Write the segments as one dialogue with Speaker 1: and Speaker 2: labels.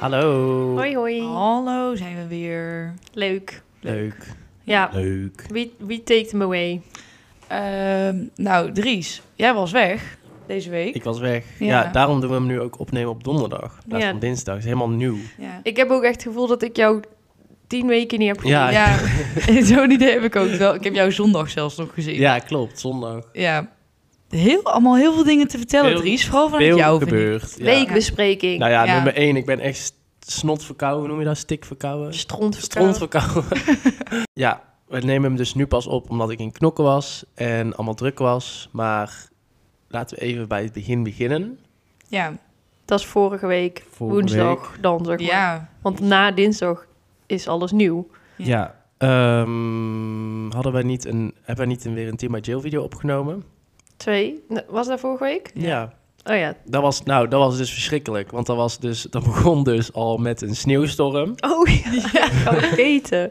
Speaker 1: Hallo.
Speaker 2: Hoi, hoi.
Speaker 3: Hallo, zijn we weer.
Speaker 2: Oh, Leuk.
Speaker 1: Leuk.
Speaker 2: Ja,
Speaker 1: Leuk.
Speaker 2: wie, wie take them away?
Speaker 3: Ehm, nou, Dries, jij was weg deze week.
Speaker 1: Ik was weg. Ja.
Speaker 3: Ja.
Speaker 1: daarom doen we hem nu ook opnemen op donderdag. In plaats
Speaker 2: Ja.
Speaker 1: van dinsdag. is helemaal nieuw.
Speaker 3: Ja.
Speaker 2: Ik heb ook echt het gevoel dat ik jou tien weken niet heb gezien.
Speaker 1: Ja.
Speaker 3: Ja, zo'n idee heb ik ook wel. Ik heb jou zondag zelfs nog gezien.
Speaker 1: Ja, klopt. Zondag.
Speaker 3: Ja. Heel, allemaal heel veel dingen te vertellen,
Speaker 1: Veel-
Speaker 3: Dries. Vooral vanuit
Speaker 1: Veel
Speaker 3: jou. vind ik.
Speaker 1: gebeurd. Ja.
Speaker 2: Weekbespreking.
Speaker 1: Nou ja,
Speaker 3: Ja.
Speaker 1: nummer één. Ik ben echt st- snot verkouden. Hoe noem je dat? Stik verkouden?
Speaker 2: Stront
Speaker 1: Stront
Speaker 2: verkouden.
Speaker 1: verkouden. ja, we nemen hem dus nu pas op omdat ik in knokken was en allemaal druk was. Maar laten we even bij het begin beginnen.
Speaker 3: Ja.
Speaker 2: Dat is vorige week,
Speaker 1: Vorige
Speaker 2: woensdag dan, zeg maar.
Speaker 3: Ja.
Speaker 2: Want na dinsdag is alles nieuw.
Speaker 3: Ja.
Speaker 1: Ja. Ehm, hadden wij niet een, hebben wij niet een, weer een Team by Jail video opgenomen?
Speaker 2: Twee, n- was dat vorige week?
Speaker 3: Ja.
Speaker 1: ja.
Speaker 2: Oh ja.
Speaker 1: Dat was, nou, dat was dus verschrikkelijk. Want dat, was dus, dat begon dus al met een sneeuwstorm.
Speaker 2: Oh ja, gaan we vergeten.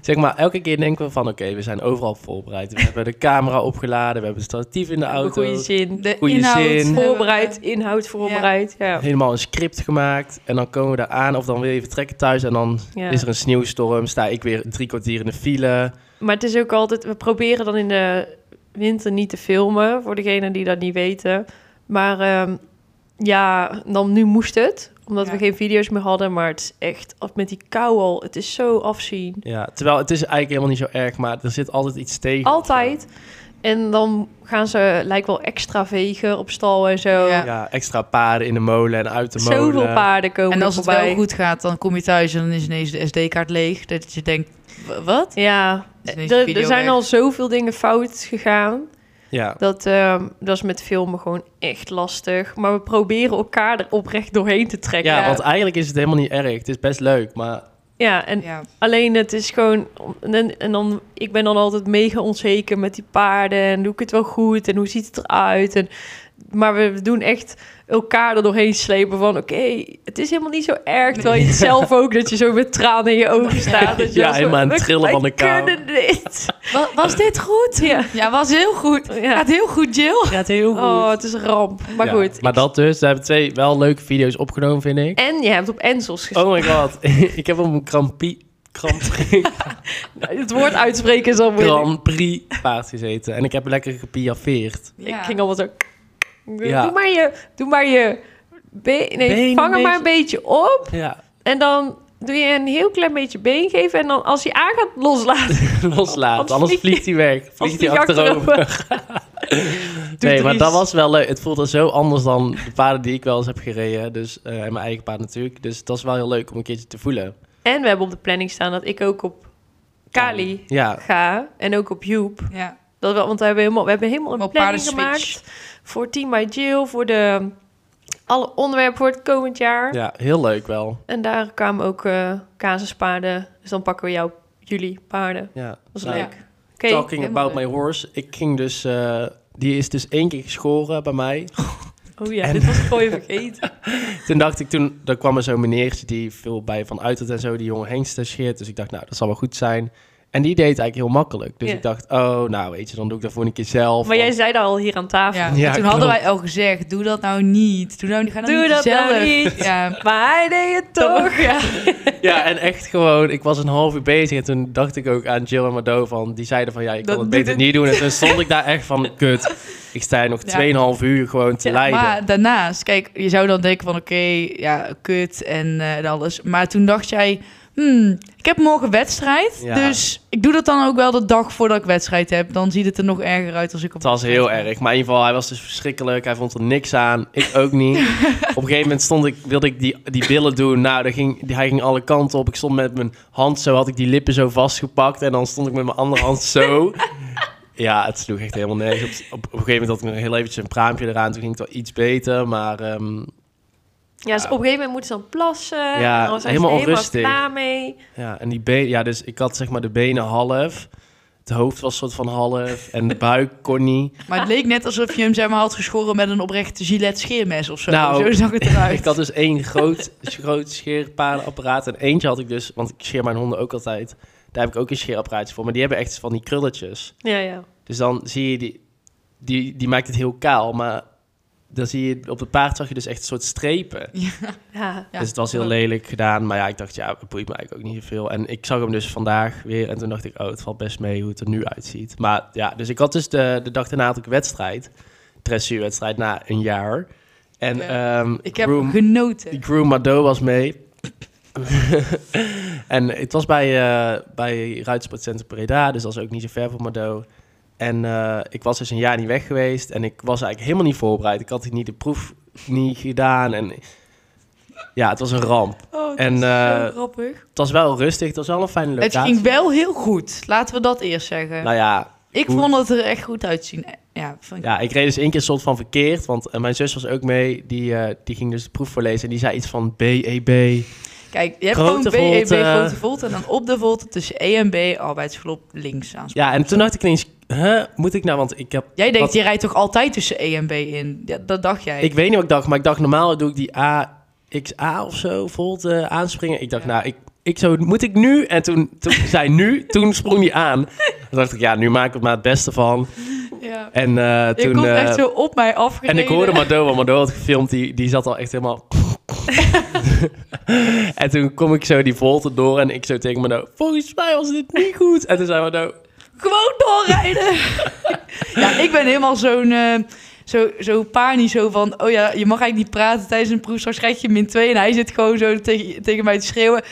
Speaker 1: Zeg maar, elke keer denken we van... oké, we zijn overal voorbereid. We hebben de camera opgeladen. We hebben het statief in de auto.
Speaker 2: Goede zin.
Speaker 3: De
Speaker 1: Goeie
Speaker 3: inhoud. eh,
Speaker 1: zin.
Speaker 3: hebben we-
Speaker 2: Voorbereid, inhoud voorbereid. Ja.
Speaker 1: Helemaal een script gemaakt. En dan komen we daar aan of dan wil je vertrekken thuis. En dan
Speaker 2: Ja.
Speaker 1: is er een sneeuwstorm. Sta ik weer drie kwartier in de file.
Speaker 2: Maar het is ook altijd, we proberen dan in de winter niet te filmen, voor degenen die dat niet weten. Maar ehm, ja, dan nu moest het, omdat we
Speaker 3: Ja.
Speaker 2: geen video's meer hadden. Maar het is echt, af- met die kou al, het is zo afzien.
Speaker 1: Ja, terwijl het is eigenlijk helemaal niet zo erg. Maar er zit altijd iets tegen.
Speaker 2: Altijd. En dan gaan ze, lijkt wel extra vegen op stal en zo.
Speaker 3: Ja.
Speaker 1: Ja, extra paarden in de molen en uit de molen.
Speaker 2: Zoveel paarden komen
Speaker 3: En als het
Speaker 2: voorbij.
Speaker 3: wel goed gaat, dan kom je thuis en dan is ineens de SD-kaart leeg. Dat je denkt, "Wa- wat?
Speaker 2: Ja,
Speaker 3: Is ineens de
Speaker 2: er, er
Speaker 3: video
Speaker 2: zijn
Speaker 3: weg.
Speaker 2: al zoveel dingen fout gegaan.
Speaker 1: Ja.
Speaker 2: Dat, ehm, dat is met filmen gewoon echt lastig. Maar we proberen elkaar er oprecht doorheen te trekken.
Speaker 1: Ja, want eigenlijk is het helemaal niet erg. Het is best leuk, maar...
Speaker 2: Ja, en
Speaker 3: Ja.
Speaker 2: alleen het is gewoon... En, en dan, ik ben dan altijd mega onzeker met die paarden. En doe ik het wel goed? En hoe ziet het eruit? En, maar we doen echt elkaar er doorheen slepen van... Oké, het is helemaal niet zo erg. Terwijl je het zelf ook, dat je zo met tranen in je ogen staat. Dat je
Speaker 1: Ja,
Speaker 2: wel zo,
Speaker 1: helemaal aan het
Speaker 2: "We-
Speaker 1: trillen van
Speaker 2: wij
Speaker 1: de kou."
Speaker 2: kunnen dit.
Speaker 3: Wa- Was dit goed?
Speaker 2: Ja.
Speaker 3: Ja, was heel goed.
Speaker 2: Ja.
Speaker 3: Gaat heel goed, Jill.
Speaker 1: Gaat heel
Speaker 2: Oh, het is een ramp. Maar
Speaker 1: Ja,
Speaker 2: goed.
Speaker 1: Maar dat dus. Ze hebben twee wel leuke video's opgenomen, vind ik.
Speaker 2: En je hebt op Ensels gespeeld.
Speaker 1: Oh my god. ik heb op een Grand Prix, Grand Prix,
Speaker 2: Het woord uitspreken is al moeilijk.
Speaker 1: Grand Prix paard gezeten. En ik heb lekker gepiaveerd.
Speaker 3: Ja.
Speaker 2: Ik ging al wat zo...
Speaker 1: Ja.
Speaker 2: Doe maar je... Doe maar je be- nee,
Speaker 1: Been
Speaker 2: vang
Speaker 1: een
Speaker 2: hem maar een beetje op.
Speaker 1: Ja,
Speaker 2: En dan doe je een heel klein beetje been geven. En dan als hij aan gaat loslaten...
Speaker 1: loslaat.
Speaker 2: Anders
Speaker 1: Anders
Speaker 2: vlieg-
Speaker 1: vliegt hij weg. Vliegt hij
Speaker 2: die
Speaker 1: achterover. Nee, maar
Speaker 2: Dries.
Speaker 1: dat was wel leuk. Het voelde zo anders dan de paarden die ik wel eens heb gereden. Dus, eh, en mijn eigen paard natuurlijk. Dus dat is wel heel leuk om een keertje te voelen.
Speaker 2: En we hebben op de planning staan dat ik ook op Kali
Speaker 1: Ja,
Speaker 2: ga. En ook op Joep.
Speaker 3: Ja.
Speaker 2: Dat wel, want we hebben helemaal, we hebben helemaal een
Speaker 3: Op
Speaker 2: planning
Speaker 3: paardenswitch.
Speaker 2: gemaakt. Voor Team by Jill. Voor de... Alle onderwerpen voor het komend jaar.
Speaker 1: ja, heel leuk wel.
Speaker 2: En daar kwamen ook eh casuspaarden. Dus dan pakken we jou, jullie paarden.
Speaker 1: Ja.
Speaker 2: Dat is
Speaker 1: Nou,
Speaker 2: leuk. Oké,
Speaker 1: Talking
Speaker 3: helemaal
Speaker 1: about my horse. Ik ging dus... eh, die is dus één keer geschoren bij mij.
Speaker 2: Oh ja,
Speaker 1: En-
Speaker 2: dit was gewoon vergeten.
Speaker 1: Toen dacht ik, toen daar kwam er zo'n meneertje die veel bij Van Uitert en zo, die jonge hengsten scheert. Dus ik dacht, nou, dat zal wel goed zijn. En die deed het eigenlijk heel makkelijk. Dus
Speaker 2: Ja.
Speaker 1: ik dacht, oh, nou, weet je, dan doe ik dat voor een keer zelf.
Speaker 2: Maar jij
Speaker 1: Of-
Speaker 2: zei daar al hier aan tafel.
Speaker 3: Ja.
Speaker 1: Ja,
Speaker 3: toen hadden
Speaker 1: klopt.
Speaker 3: wij al gezegd, doe dat nou niet. Doe, nou, ga dat
Speaker 2: Doe
Speaker 3: niet
Speaker 2: dat nou
Speaker 3: zelf.
Speaker 2: niet.
Speaker 3: Ja.
Speaker 2: Maar hij deed het toch. Ja.
Speaker 1: Ja, en echt gewoon, ik was een half uur bezig. En toen dacht ik ook aan Jill en Mado van, die zeiden van, ja, ik kan het
Speaker 3: Dat doet
Speaker 1: beter
Speaker 3: het.
Speaker 1: niet doen. En toen stond ik daar echt van, kut, ik sta hier nog
Speaker 3: Ja.
Speaker 1: 2,5 uur gewoon te
Speaker 2: Ja,
Speaker 1: lijden.
Speaker 3: Maar daarnaast, kijk, je zou dan denken van oké, ja, kut en eh, en alles. Maar toen dacht jij, hmm, ik heb morgen wedstrijd.
Speaker 1: Ja.
Speaker 3: Dus ik doe dat dan ook wel de dag voordat ik wedstrijd heb. Dan ziet het er nog erger uit als ik op
Speaker 1: Het was heel
Speaker 3: wedstrijd ben.
Speaker 1: erg. Maar in ieder geval, hij was dus verschrikkelijk. Hij vond er niks aan. Ik ook niet. op een gegeven moment stond ik, wilde ik die, die billen doen. Nou, daar ging, die- hij ging alle kanten op. Ik stond met mijn hand zo, had ik die lippen zo vastgepakt. En dan stond ik met mijn andere hand zo. ja, het sloeg echt helemaal nergens. Op, op, op een gegeven moment had ik nog heel eventjes een praampje eraan. Toen ging het wel iets beter. Maar ehm,
Speaker 2: dus op een gegeven moment moeten ze dan plassen.
Speaker 1: Ja,
Speaker 2: en dan zijn
Speaker 1: helemaal
Speaker 2: ze er
Speaker 1: onrustig.
Speaker 2: helemaal klaar mee.
Speaker 1: ja, en die benen... Ja, dus ik had zeg maar de benen half. Het hoofd was soort van half. En de buik kon niet.
Speaker 3: Maar het leek net alsof je hem zeg maar, had geschoren met een oprecht Gillette scheermes of zo.
Speaker 1: Nou,
Speaker 3: zo zag het eruit.
Speaker 1: Ik had dus één groot, groot scheerpaardenapparaat. En eentje had ik dus, want ik scheer mijn honden ook altijd. Daar heb ik ook een scheerapparaatje voor. Maar die hebben echt van die krulletjes.
Speaker 2: Ja, ja.
Speaker 1: Dus dan zie je die, die, die maakt het heel kaal. Maar dan zie je, op het paard zag je dus echt een soort strepen.
Speaker 2: Ja.
Speaker 3: Ja,
Speaker 1: dus het was heel
Speaker 3: klopt.
Speaker 1: lelijk gedaan. Maar ja, ik dacht, ja, het boeit me eigenlijk ook niet zoveel. En ik zag hem dus vandaag weer. En toen dacht ik, oh, het valt best mee hoe het er nu uitziet. Maar ja, dus ik had dus de, de dag daarna had ik een wedstrijd. Dressuurwedstrijd na een jaar. En
Speaker 3: Ja.
Speaker 1: ehm,
Speaker 3: Ik heb
Speaker 1: Groom-
Speaker 3: genoten.
Speaker 1: die Groom Mado was mee. en het was bij, eh bij Ruitersportcentrum Breda, dus dat was ook niet zo ver van Mado. En eh, ik was dus een jaar niet weg geweest en ik was eigenlijk helemaal niet voorbereid. Ik had niet de proef niet gedaan en ja, het was een ramp.
Speaker 2: Oh, dat
Speaker 1: En,
Speaker 2: is zo
Speaker 1: eh,
Speaker 2: grappig.
Speaker 1: Het was wel rustig, het was wel een fijne
Speaker 3: Het
Speaker 1: locatie.
Speaker 3: ging wel heel goed. Laten we dat eerst zeggen.
Speaker 1: Nou ja,
Speaker 3: ik
Speaker 1: goed.
Speaker 3: vond het er echt goed uitzien. Eh, Ja, vond ik-
Speaker 1: Ja, ik reed dus één keer soort van verkeerd, want eh, mijn zus was ook mee. Die, eh, die ging dus de proef voorlezen en die zei iets van E BEB.
Speaker 3: Kijk, je hebt
Speaker 1: Grote
Speaker 3: gewoon BEB,
Speaker 1: volte.
Speaker 3: grote volte. En dan op de volte tussen E en B, arbeidsverloop links aan.
Speaker 1: Ja, en toen dacht ik ineens, huh, moet ik nou, want ik heb
Speaker 3: Jij denkt,
Speaker 1: Wat-
Speaker 3: je rijdt toch altijd tussen E en B in? Ja, dat dacht jij.
Speaker 1: Ik weet niet wat ik dacht, maar ik dacht normaal doe ik die A, XA of zo, volt eh, aanspringen. Ik dacht,
Speaker 3: Ja.
Speaker 1: nou, ik, ik zo, moet ik nu? En toen, toen zei nu, toen sprong die aan. Toen dacht ik, ja, nu maak ik het maar het beste van.
Speaker 3: ja.
Speaker 1: En eh,
Speaker 3: Je
Speaker 1: toen...
Speaker 3: komt
Speaker 1: eh,
Speaker 3: echt zo op mij
Speaker 1: en
Speaker 3: afgereden.
Speaker 1: ik hoorde Mado, want Mado had gefilmd, die, die zat al echt helemaal... en toen kom ik zo die volte door en ik zo tegen Mado, volgens mij was dit niet goed. En toen zei Mado,
Speaker 3: Gewoon doorrijden! ja, ik ben helemaal zo'n... eh, zo, zo panisch, zo van... Oh ja, je mag eigenlijk niet praten tijdens een proef. Straks krijg je min 2. En hij zit gewoon zo tegen, tegen mij te schreeuwen.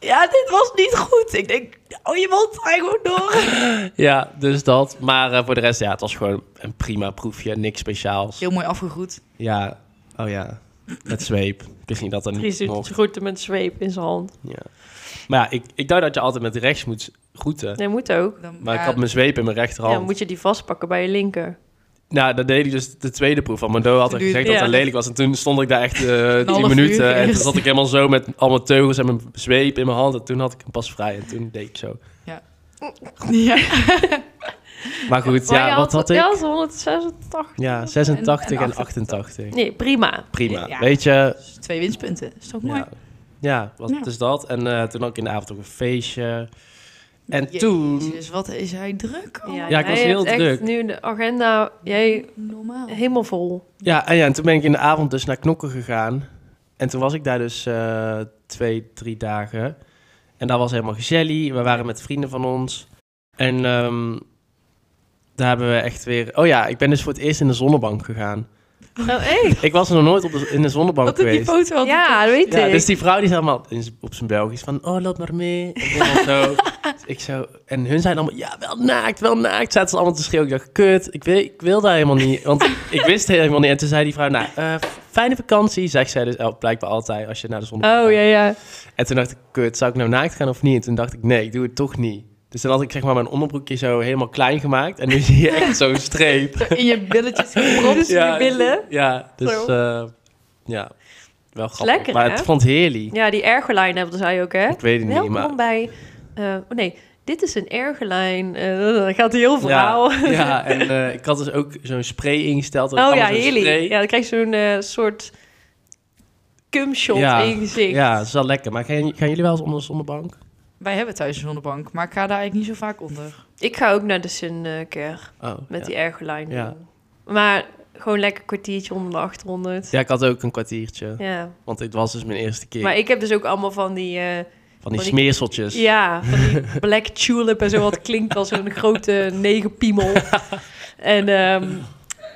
Speaker 3: Ja, dit was niet goed. Ik denk... Oh, je wilt gewoon door.
Speaker 1: ja, dus dat. Maar eh, voor de rest, ja, het was gewoon een prima proefje, niks speciaals.
Speaker 3: Heel mooi afgegroet.
Speaker 1: Ja, oh ja, met zweep. Ik ging dat dan
Speaker 2: Dries
Speaker 1: niet
Speaker 2: doet
Speaker 1: nog.
Speaker 2: groeten met zweep in zijn hand.
Speaker 1: Ja. Maar ja, ik, ik dacht dat je altijd met rechts moet groeten.
Speaker 2: Nee, moet ook.
Speaker 3: Dan, eh,
Speaker 1: Maar ik
Speaker 3: ja,
Speaker 1: had mijn zweep in mijn
Speaker 2: Ja,
Speaker 1: rechterhand.
Speaker 2: dan moet je die vastpakken bij je linker.
Speaker 1: Nou, dat deed ik dus de tweede proef. Want Mando had
Speaker 3: Toen
Speaker 1: al
Speaker 3: duurde-
Speaker 1: gezegd dat
Speaker 2: Ja.
Speaker 1: het lelijk was. En toen stond ik daar echt eh
Speaker 3: half
Speaker 1: tien
Speaker 3: uur
Speaker 1: minuten. En toen
Speaker 3: eerst.
Speaker 1: zat ik helemaal zo met al mijn teugels en mijn zweep in mijn hand. En toen had ik hem pas vrij. En toen deed ik zo.
Speaker 3: Ja.
Speaker 1: Maar goed,
Speaker 2: Maar
Speaker 1: ja,
Speaker 2: je
Speaker 1: wat had ik?
Speaker 2: Ja, 186.
Speaker 1: Ja, 86
Speaker 3: En- en
Speaker 1: en 88.
Speaker 2: Nee, prima.
Speaker 1: Prima.
Speaker 3: Ja.
Speaker 1: Weet je,
Speaker 3: Dus Twee winstpunten. Is toch mooi?
Speaker 1: Ja, ja wat
Speaker 3: Ja.
Speaker 1: is dat? En eh, toen had ik in de avond ook een feestje. En
Speaker 3: Jezus,
Speaker 1: toen...
Speaker 3: wat is hij druk? Oh,
Speaker 1: Ja, ik
Speaker 2: jij
Speaker 1: was heel
Speaker 2: hebt echt
Speaker 1: druk.
Speaker 2: nu de agenda, jij
Speaker 3: normaal.
Speaker 2: Oh. helemaal vol.
Speaker 1: Ja, en ja, en toen ben ik in de avond dus naar Knokken gegaan. En toen was ik daar dus eh, twee, drie dagen. En daar was helemaal gezellig. We waren met vrienden van ons. En ehm, daar hebben we echt weer... Oh ja, ik ben dus voor het eerst in de zonnebank gegaan.
Speaker 2: Oh, hey.
Speaker 1: Ik was nog nooit op de, in de zonnebank
Speaker 3: Wat die
Speaker 1: geweest.
Speaker 3: foto had.
Speaker 2: Ja, dat weet
Speaker 1: Ja,
Speaker 2: ik.
Speaker 1: dus die vrouw die zei allemaal in z- op zijn Belgisch van, oh, loop maar mee. En helemaal zo. Dus ik zo. En hun zijn allemaal, ja, wel naakt, wel naakt. Zaten ze allemaal te schreeuwen. Ik dacht, kut, ik wil, ik wil daar helemaal niet. Want ik wist helemaal niet. En toen zei die vrouw, nou, eh, fijne vakantie, zegt zij dus oh, blijkbaar altijd als je naar de zon
Speaker 2: Oh, ja, ja.
Speaker 1: En toen dacht ik, kut, zou ik nou naakt gaan of niet? En toen dacht ik, nee, ik doe het toch niet. Dus dan had ik zeg maar mijn onderbroekje zo helemaal klein gemaakt. En nu zie je echt zo'n streep.
Speaker 3: In je billetjes gepropt.
Speaker 1: ja,
Speaker 2: billen.
Speaker 1: Ja, dus
Speaker 2: Zo.
Speaker 1: eh, ja, wel grappig.
Speaker 2: lekker,
Speaker 1: maar
Speaker 2: hè?
Speaker 1: het vond heerlijk.
Speaker 2: Ja, die ergerlijn hebben zij ook, hè?
Speaker 1: Ik weet het niet,
Speaker 2: Welkom
Speaker 1: maar...
Speaker 2: bij... eh, oh nee, dit is een ergerlijn. eh dan gaat hij heel verhaal.
Speaker 1: Ja, ja, en eh, ik had dus ook zo'n spray ingesteld. dat
Speaker 2: oh ja,
Speaker 1: allemaal zo'n
Speaker 2: heerlijk.
Speaker 1: spray-
Speaker 2: Ja, dan krijg je zo'n eh, soort cumshot
Speaker 1: Ja,
Speaker 2: in je gezicht.
Speaker 1: Ja, dat is wel lekker. Maar gaan, gaan jullie wel eens onder de zonnebank?
Speaker 3: Wij hebben thuis een zonnebank, maar ik ga daar eigenlijk niet zo vaak onder.
Speaker 2: Ik ga ook naar de Suncare
Speaker 1: Oh,
Speaker 2: met
Speaker 1: ja.
Speaker 2: die ergerlijn.
Speaker 1: Ja.
Speaker 2: doen. Maar gewoon lekker kwartiertje onder de 800.
Speaker 1: Ja, ik had ook een kwartiertje.
Speaker 2: Ja.
Speaker 1: Want dit was dus mijn eerste keer.
Speaker 2: Maar ik heb dus ook allemaal van die... eh,
Speaker 1: van die
Speaker 2: maar ik-
Speaker 1: smeerseltjes.
Speaker 2: Ja, van die black tulip en zo. Wat klinkt als een grote negenpiemel. En ehm,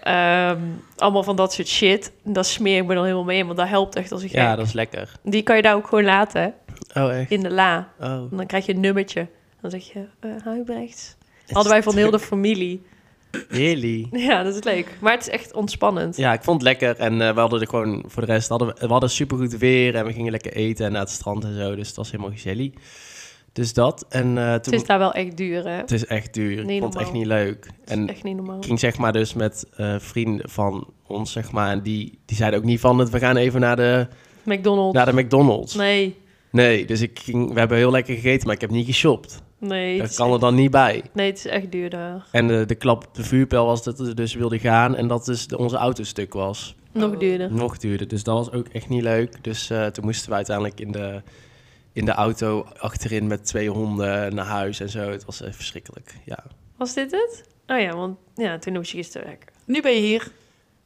Speaker 2: ehm, allemaal van dat soort shit. En dat smeer ik me dan helemaal mee in, want dat helpt echt als ik
Speaker 1: Ja, dat is lekker.
Speaker 2: Die kan je daar ook gewoon laten, hè,
Speaker 1: Oh, echt?
Speaker 2: in de la.
Speaker 1: Oh.
Speaker 2: En dan krijg je een nummertje. Dan zeg je, eh Huibrecht. Hadden wij van heel de familie.
Speaker 1: Heerlijk.
Speaker 2: Ja, dat is leuk. Maar het is echt ontspannend.
Speaker 1: Ja, ik vond het lekker. En eh, we hadden er gewoon voor de rest... Hadden we, we hadden supergoed weer en we gingen lekker eten en naar het strand en zo. Dus het was helemaal gezellig. Dus dat. En eh,
Speaker 2: Het
Speaker 1: toen...
Speaker 2: is daar wel echt duur, hè? Het
Speaker 1: het is echt duur.
Speaker 2: Niet
Speaker 1: ik vond het echt
Speaker 2: normaal.
Speaker 1: niet leuk.
Speaker 2: is
Speaker 1: En
Speaker 2: echt niet normaal.
Speaker 1: Ik ging zeg maar dus met eh, vrienden van ons, zeg maar. En die, die zeiden ook niet van het, we gaan even naar de,
Speaker 2: McDonald's.
Speaker 1: naar de McDonald's. Nee.
Speaker 2: Nee,
Speaker 1: dus ik ging, we hebben heel lekker gegeten, maar ik heb niet geshopt.
Speaker 2: nee. Het
Speaker 1: Dat
Speaker 2: is,
Speaker 1: kan er dan niet bij.
Speaker 2: nee, het is echt duur daar.
Speaker 1: En de, de klap op de vuurpijl was dat we dus wilden gaan en dat dus de- onze auto stuk was.
Speaker 2: Nog
Speaker 3: Oh.
Speaker 2: duurder.
Speaker 1: Nog duurder, dus dat was ook echt niet leuk. Dus eh, toen moesten we uiteindelijk in de, in de auto achterin met twee honden naar huis en zo. Het was echt verschrikkelijk, ja.
Speaker 2: Was dit het? Oh ja, want ja, toen moest je gisteren werken.
Speaker 3: Nu ben je hier.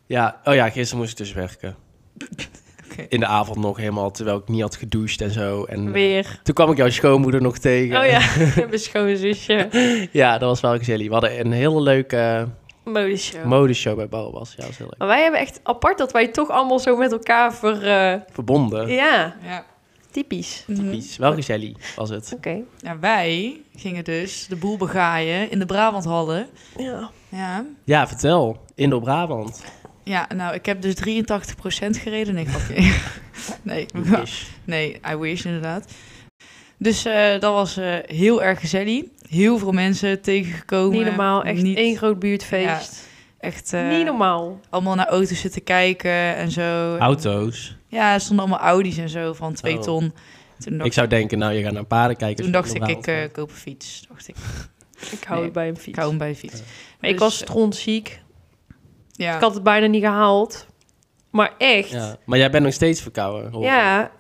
Speaker 1: Ja, oh ja, gisteren moest ik dus werken.
Speaker 3: Oké.
Speaker 1: In de avond nog helemaal, terwijl ik niet had gedoucht en zo. En eh,
Speaker 2: Weer.
Speaker 1: toen kwam ik jouw schoonmoeder nog tegen.
Speaker 2: Oh ja, mijn schoonzusje.
Speaker 1: Ja, dat was wel gezellig. We hadden een hele leuke eh,
Speaker 2: Modeshow.
Speaker 1: modeshow bij Bouwbas. Ja, dat was heel leuk.
Speaker 2: maar wij hebben echt apart dat wij toch allemaal zo met elkaar ver... eh,
Speaker 1: Verbonden.
Speaker 2: ja,
Speaker 3: Ja.
Speaker 2: typisch.
Speaker 3: Mhm.
Speaker 1: Precies. Wel gezellig was het.
Speaker 2: Oké.
Speaker 3: Ja, Nou, wij gingen dus de boel begaaien in de Brabanthallen.
Speaker 2: Ja.
Speaker 3: Ja.
Speaker 1: Ja, vertel. Indo-Brabant.
Speaker 3: Ja, nou, ik heb dus 83% gereden. Nee, grapje. nee,
Speaker 1: Is.
Speaker 3: nee, I wish inderdaad. Dus eh, dat was eh, heel erg gezellig. Heel veel mensen tegengekomen.
Speaker 2: Niet normaal. Echt
Speaker 3: eh, Niet-
Speaker 2: één groot buurtfeest.
Speaker 3: Echt eh,
Speaker 2: Niet normaal.
Speaker 3: allemaal naar auto's zitten kijken en zo.
Speaker 1: Auto's.
Speaker 3: Ja, er stonden allemaal Audi's en zo van twee
Speaker 1: Oh.
Speaker 3: ton. Toen dacht
Speaker 1: Ik zou denken, nou, je gaat naar paarden kijken.
Speaker 3: toen dacht ik,
Speaker 1: Indo-Brabant.
Speaker 3: ik eh, koop een fiets. Dacht ik,
Speaker 2: Ik hou
Speaker 3: Nee,
Speaker 2: het bij een fiets.
Speaker 3: ik hou hem bij een fiets.
Speaker 2: Maar ik
Speaker 3: Dus,
Speaker 2: was
Speaker 3: eh,
Speaker 2: strontziek.
Speaker 3: Ja.
Speaker 2: Ik had het bijna niet gehaald. Maar echt. Ja,
Speaker 1: Ja. Maar jij bent nog steeds verkouden. hoor ik.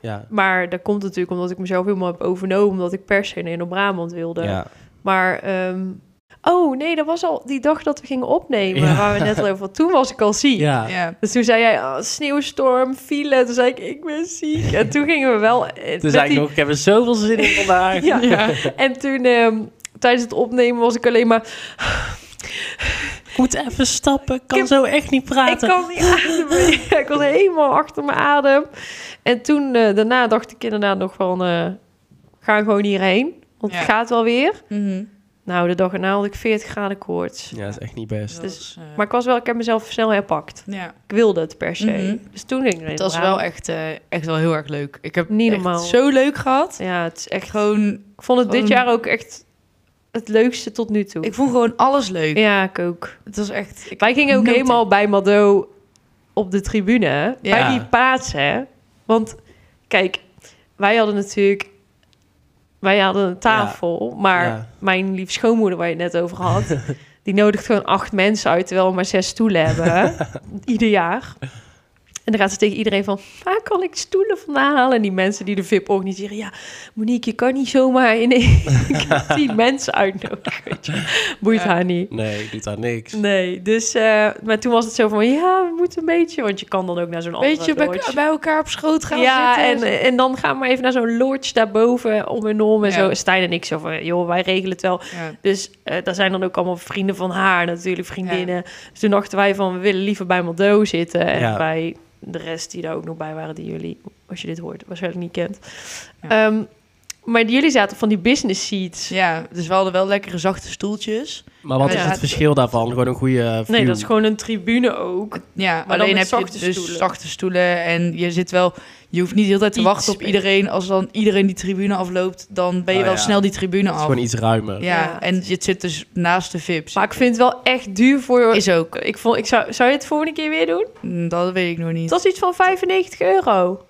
Speaker 1: Ja.
Speaker 2: maar dat komt natuurlijk omdat ik mezelf helemaal heb overnomen. Omdat ik per se in op Brabant wilde.
Speaker 1: ja.
Speaker 2: Maar, ehm, oh nee, dat was al die dag dat we gingen opnemen.
Speaker 1: Ja.
Speaker 2: Waar we net al over hadden. Toen was ik al ziek.
Speaker 1: Ja.
Speaker 3: ja.
Speaker 2: Dus toen zei jij, oh, sneeuwstorm, file. Toen zei ik, ik ben ziek. En toen gingen we wel... eh,
Speaker 1: Toen
Speaker 2: met
Speaker 1: zei ik
Speaker 2: die-
Speaker 1: nog, ik heb er zoveel zin in vandaag.
Speaker 2: Ja. En toen, ehm, tijdens het opnemen was ik alleen maar...
Speaker 1: Ik moet even stappen. Ik kan
Speaker 2: Ik heb-
Speaker 1: zo echt niet
Speaker 2: Ik kan niet ademen. Ja, ik was helemaal achter mijn adem. En toen, eh, daarna dacht ik inderdaad nog van... eh ga gewoon hierheen, want het
Speaker 3: Ja.
Speaker 2: gaat wel weer.
Speaker 3: Mhm.
Speaker 2: Nou, de dag erna had ik 40 graden koorts.
Speaker 1: Ja, dat is echt niet best.
Speaker 3: Dat
Speaker 2: Dus-
Speaker 3: was, eh,
Speaker 2: Maar ik was wel, ik heb mezelf snel herpakt.
Speaker 3: ja.
Speaker 2: Ik wilde het per se.
Speaker 3: Mhm.
Speaker 2: Dus toen ging ik erin.
Speaker 3: Het was wel echt, eh, echt wel heel erg leuk. Ik heb
Speaker 2: Niet
Speaker 3: echt
Speaker 2: normaal.
Speaker 3: zo leuk gehad.
Speaker 2: Ja, het is echt...
Speaker 3: Gewoon,
Speaker 2: Ik vond het dit
Speaker 3: gewoon-
Speaker 2: jaar ook echt het leukste tot nu toe.
Speaker 3: ik vond gewoon alles leuk.
Speaker 2: Ja, ik ook.
Speaker 3: Het was echt... Ik,
Speaker 2: Wij gingen ook
Speaker 3: Noten.
Speaker 2: helemaal bij Mado op de tribune. hè? Bij
Speaker 3: Ja.
Speaker 2: die paats, hè. Want kijk, wij hadden natuurlijk... Wij hadden een tafel, maar
Speaker 1: Ja.
Speaker 2: mijn lief schoonmoeder, waar je het net over had... die nodigt gewoon acht mensen uit, terwijl we maar zes stoelen hebben. hè? Ieder jaar. En dan gaat ze tegen iedereen van, waar kan ik stoelen vandaan halen? En die mensen die de VIP organiseren, ja, Monique, je kan niet zomaar in één keer tien mensen uitnodigen. weet je. Boeit
Speaker 3: Ja.
Speaker 2: haar niet.
Speaker 1: Nee, doet daar niks.
Speaker 2: Nee, dus... eh, maar toen was het zo van, ja, we moeten een beetje... Want je kan dan ook naar zo'n andere
Speaker 3: beetje bij,
Speaker 2: lodge.
Speaker 3: bij elkaar op schoot gaan
Speaker 2: ja,
Speaker 3: zitten.
Speaker 2: en, en dan gaan we even naar zo'n lodge daarboven om en om. En
Speaker 3: Ja.
Speaker 2: zo, Stijn en ik zo van, joh, wij regelen het wel.
Speaker 3: Ja.
Speaker 2: Dus eh, daar zijn dan ook allemaal vrienden van haar natuurlijk, vriendinnen. Dus toen dachten wij van, we willen liever bij Mado zitten. En
Speaker 1: Ja.
Speaker 2: bij de rest die daar ook nog bij waren, die jullie, als je dit hoort, waarschijnlijk niet kent.
Speaker 3: Ja.
Speaker 2: Ehm, maar jullie zaten van die business seats.
Speaker 3: ja, dus we hadden wel lekkere zachte stoeltjes.
Speaker 1: Maar wat
Speaker 3: Ja.
Speaker 1: is het verschil daarvan? Gewoon een goede view.
Speaker 2: Nee, dat is gewoon een tribune ook.
Speaker 3: Ja,
Speaker 2: dan
Speaker 3: alleen
Speaker 2: met
Speaker 3: heb
Speaker 2: zachte
Speaker 3: je dus
Speaker 2: stoelen.
Speaker 3: zachte stoelen. En je zit wel... Je hoeft niet de hele tijd te
Speaker 2: Iets
Speaker 3: wachten op
Speaker 2: meer.
Speaker 3: iedereen. Als dan iedereen die tribune afloopt, dan ben je
Speaker 1: Oh,
Speaker 3: wel
Speaker 1: ja.
Speaker 3: snel die tribune
Speaker 1: Het is
Speaker 3: af.
Speaker 1: gewoon iets ruimer.
Speaker 3: Ja,
Speaker 2: Ja.
Speaker 3: en je zit dus naast de VIP's.
Speaker 2: Maar ik vind het wel echt duur voor...
Speaker 3: Is ook.
Speaker 2: Ik, vond, ik zou, zou je het volgende keer weer doen?
Speaker 3: Mm, Dat weet ik nog niet.
Speaker 2: Het was iets van 95 euro.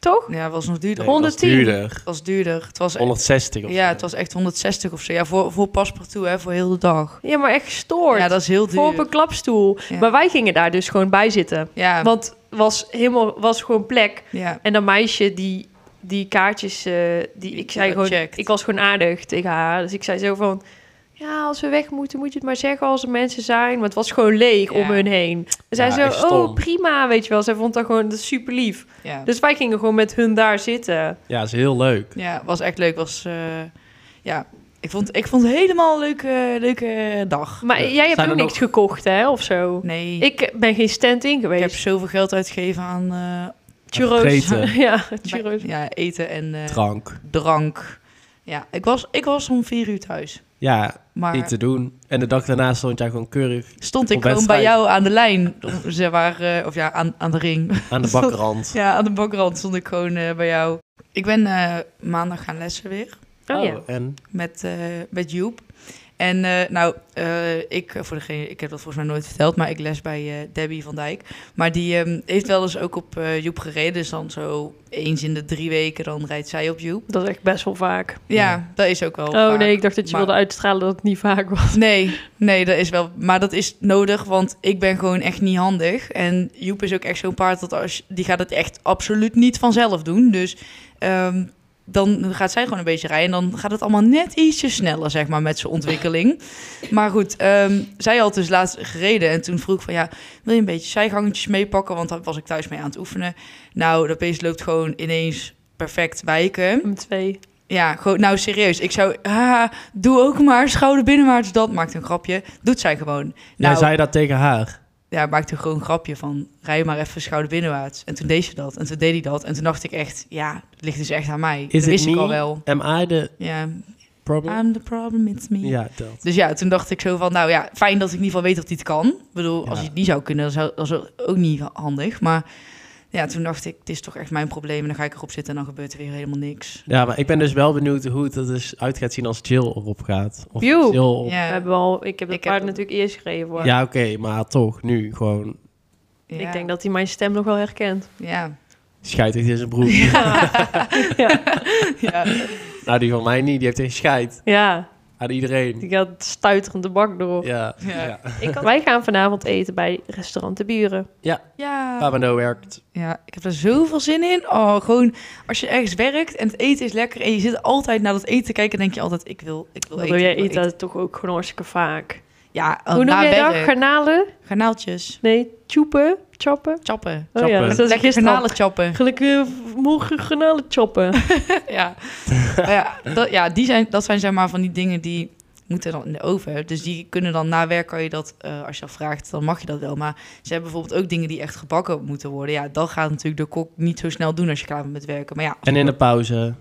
Speaker 2: Toch?
Speaker 3: Ja, was nog duurder.
Speaker 1: Nee,
Speaker 3: Het
Speaker 1: dat is
Speaker 2: 110.
Speaker 1: duurder.
Speaker 3: was duurder. Het was e-
Speaker 1: 160 of zo.
Speaker 3: Ja, het was echt 160 of zo. Ja, voor, voor paspartout, hè, voor heel de dag.
Speaker 2: Ja, maar echt gestoord.
Speaker 3: Ja, dat is heel duur.
Speaker 2: Voor op een klapstoel.
Speaker 3: Ja.
Speaker 2: Maar wij gingen daar dus gewoon bij zitten.
Speaker 3: ja,
Speaker 2: Want het was, helemaal, was gewoon plek.
Speaker 3: ja,
Speaker 2: En dat meisje die, die kaartjes... eh, die, ik zei
Speaker 3: dat
Speaker 2: gewoon...
Speaker 3: checkt.
Speaker 2: Ik was gewoon aardig tegen haar. Dus ik zei zo van... Ja, als we weg moeten, moet je het maar zeggen als er mensen zijn. Want het was gewoon leeg
Speaker 3: Ja.
Speaker 2: om hun heen. En zij
Speaker 1: Ja,
Speaker 2: zo,
Speaker 1: echt stom.
Speaker 2: oh prima, weet je wel. Zij vond dat gewoon dat is super lief.
Speaker 3: ja.
Speaker 2: Dus wij gingen gewoon met hun daar zitten.
Speaker 1: Ja, is heel leuk.
Speaker 3: ja, was echt leuk. Was, eh, ja, ik vond, ik vond het helemaal een leuke, leuke dag.
Speaker 2: Maar
Speaker 1: Ja.
Speaker 2: jij hebt
Speaker 1: Zijn
Speaker 2: ook
Speaker 1: er
Speaker 2: niks gekocht, hè, of zo?
Speaker 3: Nee, ik,
Speaker 2: Ik ben geen stand-in
Speaker 3: heb
Speaker 2: geweest.
Speaker 3: zoveel geld uitgegeven aan eh,
Speaker 2: churros.
Speaker 1: Gegeten.
Speaker 2: ja, churros.
Speaker 3: ja, eten en eh,
Speaker 1: Drank.
Speaker 3: drank. Ja, ik was, ik was om vier uur thuis.
Speaker 1: Ja,
Speaker 3: Maar
Speaker 1: niet te doen. En de dag daarna stond jij gewoon keurig
Speaker 3: stond ik
Speaker 1: op
Speaker 3: gewoon bij
Speaker 1: wedstrijd.
Speaker 3: jou aan de lijn. Ze waren, eh, of ja, aan, aan de ring.
Speaker 1: aan de bakrand.
Speaker 3: Ja, aan de bakrand stond ik gewoon eh, bij jou. Ik ben eh, maandag gaan lessen weer
Speaker 2: Oh, ja.
Speaker 1: en
Speaker 3: met, eh, met Joep. En eh, nou, eh, ik, voor degene, ik heb dat volgens mij nooit verteld, maar ik les bij eh, Debbie van Dijk. Maar die ehm, heeft wel eens ook op eh, Joep gereden. Dus dan zo eens in de drie weken, dan rijdt zij op Joep.
Speaker 2: Dat is echt best wel vaak.
Speaker 3: Ja,
Speaker 1: Ja.
Speaker 3: dat is ook wel
Speaker 2: oh
Speaker 3: vaak.
Speaker 2: nee, ik dacht dat je
Speaker 3: Maar-
Speaker 2: wilde uitstralen dat het niet vaak was.
Speaker 3: Nee, nee, dat is wel. Maar dat is nodig, want ik ben gewoon echt niet handig. En Joep is ook echt zo'n paard dat als die gaat het echt absoluut niet vanzelf doen. Dus ehm, dan gaat zij gewoon een beetje rijden. En dan gaat het allemaal net ietsje sneller, zeg maar, met zijn ontwikkeling. Maar goed, ehm, zij had dus laatst gereden. En toen vroeg ik van, ja, wil je een beetje zijgangetjes meepakken? Want daar was ik thuis mee aan het oefenen. Nou, dat beest loopt gewoon ineens perfect wijken.
Speaker 2: M2.
Speaker 3: Ja, gewoon, nou serieus. Ik zou, haha, doe ook maar schouder binnenwaarts. Dat maakt een grapje. Doet zij gewoon.
Speaker 1: Jij
Speaker 3: Nou,
Speaker 1: zei dat tegen haar.
Speaker 3: ja, maakte gewoon een grapje van rij maar even schouder binnenwaarts. En toen deed ze dat. En toen deed hij dat. En toen dacht ik echt, ja, het ligt dus echt aan mij. dat
Speaker 1: it
Speaker 3: wist ik
Speaker 1: me?
Speaker 3: al wel.
Speaker 1: Am I the
Speaker 3: Ja,
Speaker 1: problem?
Speaker 3: I'm the problem, it's me.
Speaker 1: ja, dat.
Speaker 3: Dus ja, toen dacht ik zo van, nou ja, fijn dat ik in ieder geval weet dat hij het kan. Ik bedoel,
Speaker 1: Ja.
Speaker 3: als hij het niet zou kunnen, dan zou, dan zou het ook niet handig. Maar ja, toen dacht ik, dit is toch echt mijn probleem. En dan ga ik erop zitten en dan gebeurt er weer helemaal niks.
Speaker 1: Ja, maar ik ben dus wel benieuwd hoe het er dus uit gaat zien als Jill erop gaat. Of
Speaker 2: Joe.
Speaker 1: Jill op-
Speaker 2: We
Speaker 3: Ja,
Speaker 2: hebben al, ik heb het
Speaker 3: Ik heb
Speaker 2: paard
Speaker 3: hem.
Speaker 2: natuurlijk eerst gereden voor.
Speaker 1: Ja, oké, maar toch, nu gewoon
Speaker 3: ja,
Speaker 2: Ik denk dat hij mijn stem nog wel herkent.
Speaker 3: Ja.
Speaker 1: scheidt tegen zijn broer.
Speaker 2: ja.
Speaker 3: ja.
Speaker 1: Nou, die van mij niet, die heeft tegen scheid
Speaker 2: ja,
Speaker 1: aan iedereen.
Speaker 2: die gaat stuiterend de bak door.
Speaker 1: Ja,
Speaker 3: Ja.
Speaker 1: ja.
Speaker 2: Wij gaan vanavond eten bij restaurant De Buren.
Speaker 3: ja.
Speaker 1: Pabano werkt.
Speaker 3: Ja, ik heb er zoveel zin in. Oh, gewoon als je ergens werkt en het eten is lekker en je zit altijd naar dat eten te kijken, denk je altijd: ik wil, ik wil
Speaker 2: Dat
Speaker 3: eten. Oh,
Speaker 2: doe jij
Speaker 3: ik
Speaker 2: eten,
Speaker 3: wil
Speaker 2: dat toch ook gewoon hartstikke vaak.
Speaker 3: Ja,
Speaker 2: Hoe noem
Speaker 3: na
Speaker 2: jij dat?
Speaker 3: werk.
Speaker 2: Garnalen?
Speaker 3: Garnaaltjes,
Speaker 2: Nee, choppen? Choppen?
Speaker 3: chappen.
Speaker 2: Oh ja,
Speaker 1: Choppen.
Speaker 2: dus dat is
Speaker 3: Lekker
Speaker 2: gisteren
Speaker 3: garnalen chappen.
Speaker 2: Gelukkig morgen garnalen choppen.
Speaker 3: ja, Maar ja, dat, ja die zijn, dat zijn zeg maar van die dingen die moeten dan in de oven. Dus die kunnen dan na werk, kan je dat, eh, als je dat vraagt, dan mag je dat wel. Maar ze hebben bijvoorbeeld ook dingen die echt gebakken moeten worden. Ja, dat gaat natuurlijk de kok niet zo snel doen als je klaar bent met werken. Maar ja,
Speaker 1: En in de pauze.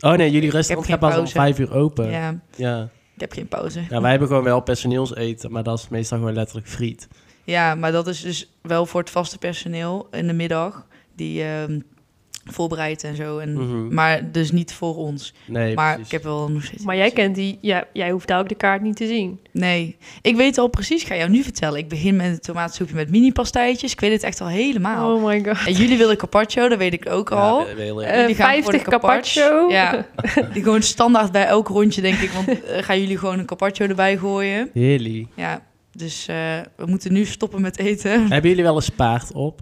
Speaker 1: Oh nee, jullie restaurant
Speaker 3: geen
Speaker 1: gaat pas om
Speaker 3: pauze.
Speaker 1: vijf uur open. Ja.
Speaker 3: ja,
Speaker 1: Ja.
Speaker 3: ik heb geen pauze.
Speaker 1: wij hebben gewoon wel personeelseten, maar dat is meestal gewoon letterlijk friet.
Speaker 3: Ja, maar dat is dus wel voor het vaste personeel in de middag. Die ehm voorbereidt en zo. En,
Speaker 1: Mhm.
Speaker 3: Maar dus niet voor ons.
Speaker 1: Nee,
Speaker 3: Mm. maar
Speaker 1: precies.
Speaker 3: ik heb wel nog steeds...
Speaker 2: Maar jij kent die, ja, jij hoeft daar ook de kaart niet te zien.
Speaker 3: Nee, ik weet al precies. Ik ga jou nu vertellen. Ik begin met een tomaatsoepje met mini-pastijtjes. Ik weet het echt al helemaal.
Speaker 2: Oh my god.
Speaker 3: En jullie willen carpaccio, dat weet ik ook
Speaker 1: Ja,
Speaker 3: al.
Speaker 1: we- we- we-
Speaker 2: Eh,
Speaker 3: Jullie gaan voor de
Speaker 2: 50 carpaccio.
Speaker 3: Ja, die gewoon standaard bij elk rondje, denk ik. Want eh, gaan jullie gewoon een carpaccio erbij gooien.
Speaker 1: Heerlijk.
Speaker 3: Ja, dus eh, we moeten nu stoppen met eten.
Speaker 1: Hebben jullie wel eens paard op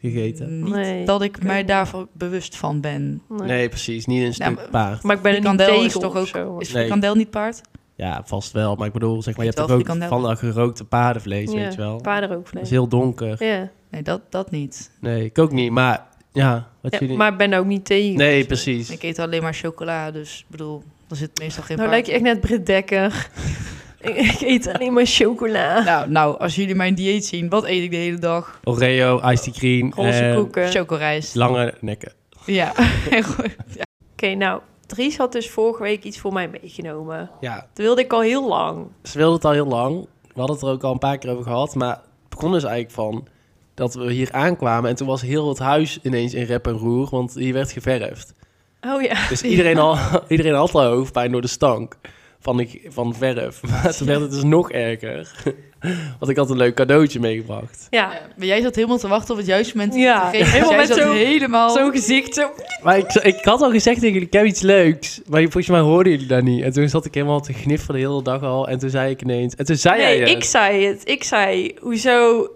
Speaker 1: gegeten?
Speaker 3: Niet
Speaker 2: Nee.
Speaker 3: dat ik mij daarvan bewust van ben.
Speaker 2: Nee.
Speaker 1: Nee, precies. Niet een stuk
Speaker 3: Ja, maar-
Speaker 1: paard.
Speaker 2: Maar ik ben er niet
Speaker 3: Frikandel
Speaker 2: tegen
Speaker 3: is toch
Speaker 2: of
Speaker 3: ook-
Speaker 2: zo.
Speaker 3: Is
Speaker 1: Nee.
Speaker 3: frikandel niet paard?
Speaker 1: Ja, vast wel. Maar ik bedoel, zeg maar, je hebt
Speaker 3: Ik
Speaker 1: toch
Speaker 3: wel
Speaker 1: ook
Speaker 3: frikandel.
Speaker 1: van dat gerookte paardenvlees,
Speaker 2: Ja,
Speaker 1: weet je wel. Dat
Speaker 2: paardenrookvlees.
Speaker 1: is heel donker.
Speaker 2: Ja.
Speaker 3: Nee, dat, dat niet.
Speaker 1: Nee, ik ook niet. Maar ja, wat
Speaker 2: Ja,
Speaker 1: jullie...
Speaker 2: maar ik ben er ook niet tegen.
Speaker 1: Nee, precies.
Speaker 3: Ik eet alleen maar chocola, dus ik bedoel, daar zit meestal geen
Speaker 2: Nou
Speaker 3: paard.
Speaker 2: lijk je echt net Britt Dekker. ik, ik eet alleen maar chocola.
Speaker 3: Nou, nou, als jullie mijn dieet zien, wat eet ik de hele dag?
Speaker 1: Oreo, iced tea green
Speaker 2: Roze
Speaker 1: en
Speaker 2: koeken. Oké,
Speaker 3: Chocorijst.
Speaker 1: lange nekken.
Speaker 3: Ja. Goed. ja.
Speaker 2: nou, Dries had dus vorige week iets voor mij meegenomen.
Speaker 1: Ja,
Speaker 2: Dat wilde ik al heel lang.
Speaker 1: ze wilden het al heel lang. We hadden het er ook al een paar keer over gehad. Maar het begon dus eigenlijk van dat we hier aankwamen. En toen was heel het huis ineens in rep en roer, want hier werd geverfd.
Speaker 2: Oh ja.
Speaker 1: Dus iedereen, al, iedereen had al hoofdpijn door de stank van, de, van de verf. Maar toen werd het dus nog erger. Want ik had een leuk cadeautje meegebracht.
Speaker 2: Ja.
Speaker 3: Maar jij zat helemaal te wachten op het juiste moment. om
Speaker 2: Ja,
Speaker 3: te geven.
Speaker 2: helemaal
Speaker 3: jij
Speaker 2: met
Speaker 3: zat
Speaker 2: zo'n-
Speaker 3: helemaal...
Speaker 2: Zo'n gezicht. Zo.
Speaker 1: Maar ik, ik had al gezegd tegen jullie, ik heb iets leuks. Maar volgens mij hoorden jullie dat niet. En toen zat ik helemaal te gniffelen de hele dag al. En toen zei ik ineens... En toen zei
Speaker 2: Nee,
Speaker 1: jij het.
Speaker 2: ik zei het. Ik zei, hoezo...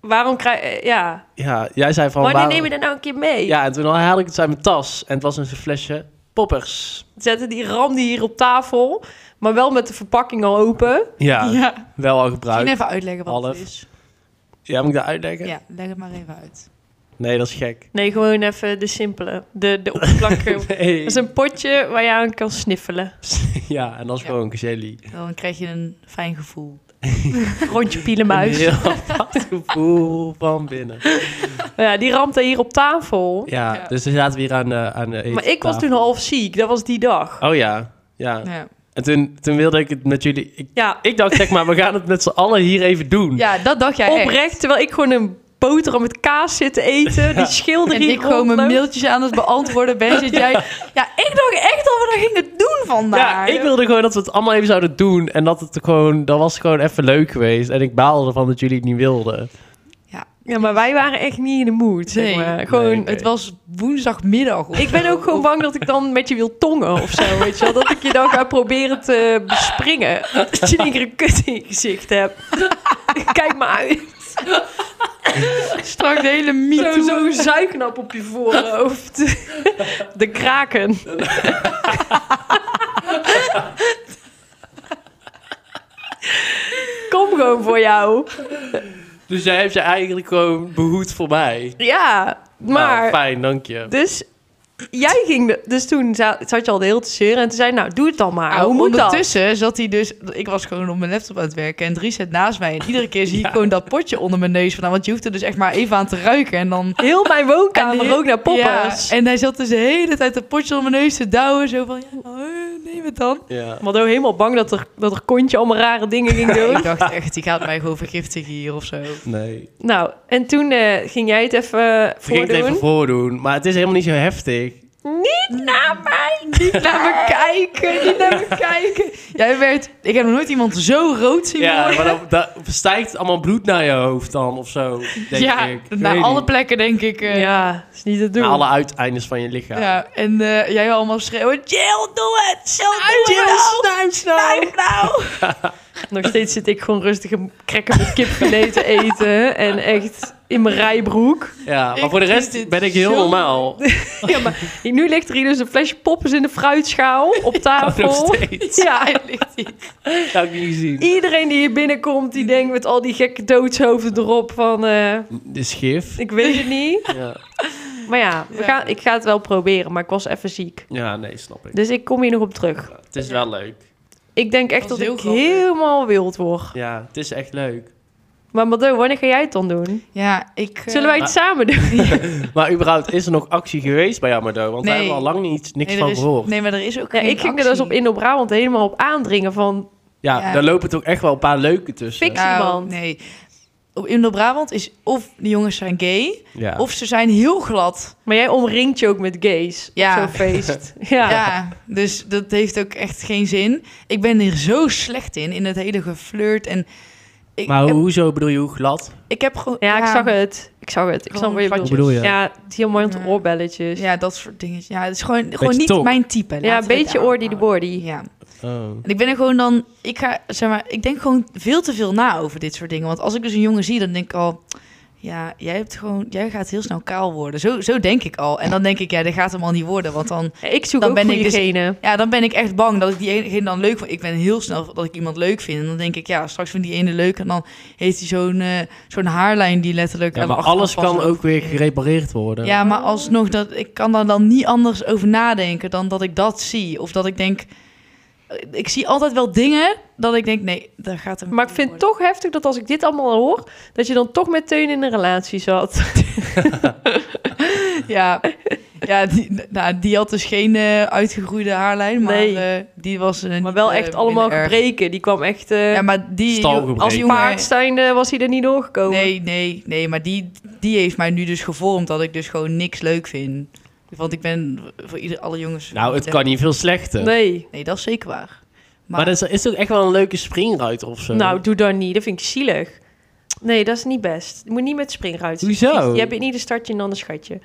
Speaker 2: Waarom krijg... eh, Ja.
Speaker 1: Ja, jij zei van...
Speaker 2: Wanneer
Speaker 1: waarom-
Speaker 2: neem je dat nou een keer mee?
Speaker 1: Ja, en toen haalde ik het uit mijn tas. En het was een flesje poppers.
Speaker 2: Zetten die ram die hier op tafel, maar wel met de verpakking al open.
Speaker 1: Ja,
Speaker 3: Ja.
Speaker 1: wel al
Speaker 3: Misschien
Speaker 1: gebruikt.
Speaker 3: even uitleggen wat
Speaker 1: Half.
Speaker 3: het is.
Speaker 1: Ja, moet ik dat uitleggen?
Speaker 3: Ja, leg het maar even uit.
Speaker 1: Nee, dat is gek.
Speaker 2: Nee, gewoon even de simpele. De, de oppervlakkige. Dat
Speaker 1: Nee.
Speaker 2: is een potje waar je aan kan sniffelen.
Speaker 1: Ja, en dat is
Speaker 3: Ja.
Speaker 1: gewoon jelly.
Speaker 3: Dan krijg je een fijn gevoel.
Speaker 2: Rondje
Speaker 1: Een
Speaker 2: pielenmuis.
Speaker 1: heel vast gevoel van binnen.
Speaker 2: Ja, die ramt hier op tafel.
Speaker 1: Ja,
Speaker 3: Ja.
Speaker 1: dus dan zaten we hier aan de, aan de eten.
Speaker 2: Maar ik was toen half ziek. Dat was die dag.
Speaker 1: Oh ja, ja.
Speaker 3: Ja,
Speaker 1: En toen, toen wilde ik het met jullie... Ik,
Speaker 2: Ja,
Speaker 1: ik dacht, zeg maar, we gaan het met z'n allen hier even doen.
Speaker 3: ja dat dacht jij echt.
Speaker 2: oprecht. Terwijl ik gewoon een boterham met kaas zit te eten. Die schilder
Speaker 3: En
Speaker 2: hier
Speaker 3: ik gewoon mijn
Speaker 2: rondloopt.
Speaker 3: mailtjes aan het beantwoorden ben, zit jij... Ja, ik dacht echt dat we dat gingen doen
Speaker 1: Ja,
Speaker 3: vandaag.
Speaker 1: ik wilde gewoon dat we het allemaal even zouden doen. En dat het gewoon... Dat was gewoon even leuk geweest. En ik baalde ervan dat jullie het niet wilden.
Speaker 2: Ja, maar wij waren echt niet in de mood, zeg
Speaker 3: Nee.
Speaker 2: maar. Gewoon,
Speaker 1: Nee, nee.
Speaker 3: Het was woensdagmiddag. of
Speaker 2: Ik ben
Speaker 3: zo.
Speaker 2: ook gewoon bang dat ik dan met je wil tongen of zo, weet je wel. Dat ik je dan ga proberen te bespringen. Dat je in één keer een kut in je gezicht hebt. Kijk maar uit.
Speaker 3: Strak de hele
Speaker 2: Zo'n
Speaker 3: mythe.
Speaker 2: zo zuiknap op je voorhoofd. De kraken. Kom gewoon voor jou.
Speaker 1: Dus jij hebt je eigenlijk gewoon behoed voor mij.
Speaker 2: Ja,
Speaker 1: Nou,
Speaker 2: maar...
Speaker 1: fijn, dank je.
Speaker 2: Dus jij ging... de- dus toen za- zat je al de hele te zeuren. En toen zei je, nou, doe het dan maar. Hoe moet dat?
Speaker 3: Ondertussen zat hij dus... Ik was gewoon op mijn laptop aan het werken en Dries zit naast mij. En iedere keer zie ik gewoon dat potje onder mijn neus vandaan. Want je hoeft er dus echt maar even aan te ruiken. En dan...
Speaker 2: Heel mijn woonkamer
Speaker 3: heel-
Speaker 2: rook naar poppers.
Speaker 3: Ja, en hij zat dus de hele tijd dat potje onder mijn neus te douwen. Zo van, ja, eh, neem het dan.
Speaker 1: Ja.
Speaker 2: Maar ook helemaal bang dat er, dat er kontje allemaal rare dingen ging doen.
Speaker 3: Ik dacht echt, die gaat mij gewoon vergiftigen hier of zo.
Speaker 1: Nee.
Speaker 2: nou, en toen eh, ging jij het even eh,
Speaker 1: Ik ging het
Speaker 2: voordoen.
Speaker 1: even voordoen, maar het is helemaal niet zo heftig.
Speaker 2: Niet naar mij, niet
Speaker 3: Naar me kijken, niet naar me kijken. Jij werd, ik heb nog nooit iemand zo rood zien
Speaker 1: Ja,
Speaker 3: worden.
Speaker 1: maar dan, dan stijgt allemaal bloed naar je hoofd dan of zo. Denk
Speaker 3: ja,
Speaker 1: ik. Ik
Speaker 3: naar
Speaker 1: weet
Speaker 3: alle
Speaker 1: niet.
Speaker 3: plekken denk ik. eh,
Speaker 2: Ja, is niet te doen.
Speaker 1: Naar alle uiteindes van je lichaam.
Speaker 3: Ja, en eh, jij allemaal schreeuwen, Jill, doe het! Jill, doe
Speaker 2: Jill,
Speaker 3: het!
Speaker 2: snuif nou.
Speaker 3: Blijf nou!
Speaker 2: Nog steeds zit ik gewoon rustig een krekker met kipfilet te eten. En echt in mijn rijbroek.
Speaker 1: Ja, maar
Speaker 3: Ik
Speaker 1: voor de
Speaker 3: vind
Speaker 1: rest
Speaker 3: dit
Speaker 1: ben ik heel
Speaker 3: zo-
Speaker 1: normaal.
Speaker 2: Ja, maar nu ligt er hier dus een flesje poppers in de fruitschaal op
Speaker 1: Nog
Speaker 2: tafel.
Speaker 1: steeds.
Speaker 2: Ja,
Speaker 1: Dat heb ik niet gezien.
Speaker 2: iedereen die hier binnenkomt, die denkt met al die gekke doodshoofden erop van... eh,
Speaker 1: Dit is gif.
Speaker 2: ik weet het niet.
Speaker 1: Ja.
Speaker 2: Maar ja, we
Speaker 3: Ja.
Speaker 2: Gaan, ik ga het wel proberen, maar ik was even ziek.
Speaker 1: ja, nee, snap ik.
Speaker 2: Dus ik kom hier nog op terug.
Speaker 1: Ja, Het is wel leuk.
Speaker 2: Ik denk echt dat,
Speaker 3: Dat was heel
Speaker 2: ik
Speaker 3: grappig.
Speaker 2: helemaal wild word.
Speaker 1: Ja, het is echt leuk.
Speaker 2: Maar Mado, wanneer ga jij het dan doen?
Speaker 3: Ja, ik... eh,
Speaker 2: Zullen wij het samen doen?
Speaker 1: Maar überhaupt, is er nog actie geweest bij jou, Mado? Want daar
Speaker 3: Nee.
Speaker 1: hebben we al lang niet, niks
Speaker 3: nee, er
Speaker 1: van
Speaker 3: is-
Speaker 1: gehoord.
Speaker 3: Nee, maar er is ook
Speaker 2: Ja,
Speaker 3: geen
Speaker 2: ik ging er dus
Speaker 3: actie.
Speaker 2: op Indo-Brabant helemaal op aandringen van...
Speaker 1: ja,
Speaker 3: Ja.
Speaker 1: daar lopen toch echt wel een paar leuke tussen.
Speaker 2: Fik- Actieband.
Speaker 3: Nou, nee. Op Indo-Brabant is of de jongens zijn gay,
Speaker 1: Ja.
Speaker 3: of ze zijn heel glad.
Speaker 2: Maar jij omringt je ook met gays
Speaker 3: Ja.
Speaker 2: op zo'n feest. Ja.
Speaker 3: Ja. dus dat heeft ook echt geen zin. Ik ben hier zo slecht in, in het hele geflirt. En ik,
Speaker 1: maar
Speaker 3: heb,
Speaker 1: hoezo bedoel je, hoe glad?
Speaker 3: ik heb gewoon...
Speaker 2: Ja, ik zag het. Ik zag het. Ik
Speaker 3: Gewoon
Speaker 2: snap wat je
Speaker 3: vlakjes.
Speaker 2: bedoelt.
Speaker 1: Hoe bedoel je?
Speaker 2: Ja, diamant
Speaker 3: Ja.
Speaker 2: oorbelletjes. Ja,
Speaker 3: Ja, dat soort dingetjes. Ja, het is gewoon, gewoon niet
Speaker 1: Dus- tok.
Speaker 3: mijn type. Laten we
Speaker 2: een
Speaker 3: het
Speaker 2: beetje
Speaker 3: daarop
Speaker 2: oordie de
Speaker 3: houden.
Speaker 2: body.
Speaker 3: Ja.
Speaker 1: Oh.
Speaker 3: En ik ben er gewoon dan... Ik ga, zeg maar, ik denk gewoon veel te veel na over dit soort dingen. Want als ik dus een jongen zie, dan denk ik al... Ja, jij, hebt gewoon, jij gaat heel snel kaal worden. Zo, zo denk ik al. En dan denk ik, ja, dat gaat hem al niet worden. Want dan
Speaker 2: Ik zoek
Speaker 3: Dan
Speaker 2: ook
Speaker 3: ben
Speaker 2: goede
Speaker 3: ik dus-
Speaker 2: genen.
Speaker 3: Ja, dan ben ik echt bang dat ik die ene dan leuk vind. Ik ben heel snel dat ik iemand leuk vind. En dan denk ik, ja, straks vind ik die ene leuk. En dan heeft hij zo'n eh, zo'n haarlijn die letterlijk...
Speaker 1: Ja,
Speaker 3: aan de
Speaker 1: maar alles
Speaker 3: achterkant
Speaker 1: kan
Speaker 3: past.
Speaker 1: ook weer gerepareerd worden.
Speaker 3: Ja, maar alsnog, dat, ik kan daar dan niet anders over nadenken dan dat ik dat zie. Of dat ik denk... eh, Ik zie altijd wel dingen dat ik denk, nee, daar gaat hem
Speaker 2: Maar ik vind het toch heftig dat als ik dit allemaal hoor... dat je dan toch met Teun in een relatie zat.
Speaker 3: Ja, ja die, nou, die had dus geen eh, uitgegroeide haarlijn. Maar
Speaker 2: Nee.
Speaker 3: eh, die was... eh,
Speaker 2: Maar
Speaker 3: niet,
Speaker 2: wel
Speaker 3: eh,
Speaker 2: echt allemaal
Speaker 3: minder erg.
Speaker 2: gebreken. Die kwam echt... eh,
Speaker 3: Ja, maar die...
Speaker 1: Stalgebreken.
Speaker 3: Als
Speaker 1: Als
Speaker 3: jongen,
Speaker 2: Paard zijnde was hij er niet doorgekomen.
Speaker 3: Nee, nee, nee, maar die, die heeft mij nu dus gevormd dat ik dus gewoon niks leuk vind. Want ik ben voor ieder, alle jongens.
Speaker 1: Nou, het kan niet veel slechter.
Speaker 2: Nee.
Speaker 3: Nee, dat is zeker waar.
Speaker 1: Maar
Speaker 3: Maar,
Speaker 1: dat is, is toch echt wel een leuke springruiter of zo?
Speaker 2: Nou, doe dan niet. Dat vind ik zielig. Nee, dat is niet best. Je moet niet met springruit.
Speaker 1: Hoezo?
Speaker 2: Je bent niet een startje en dan een schatje.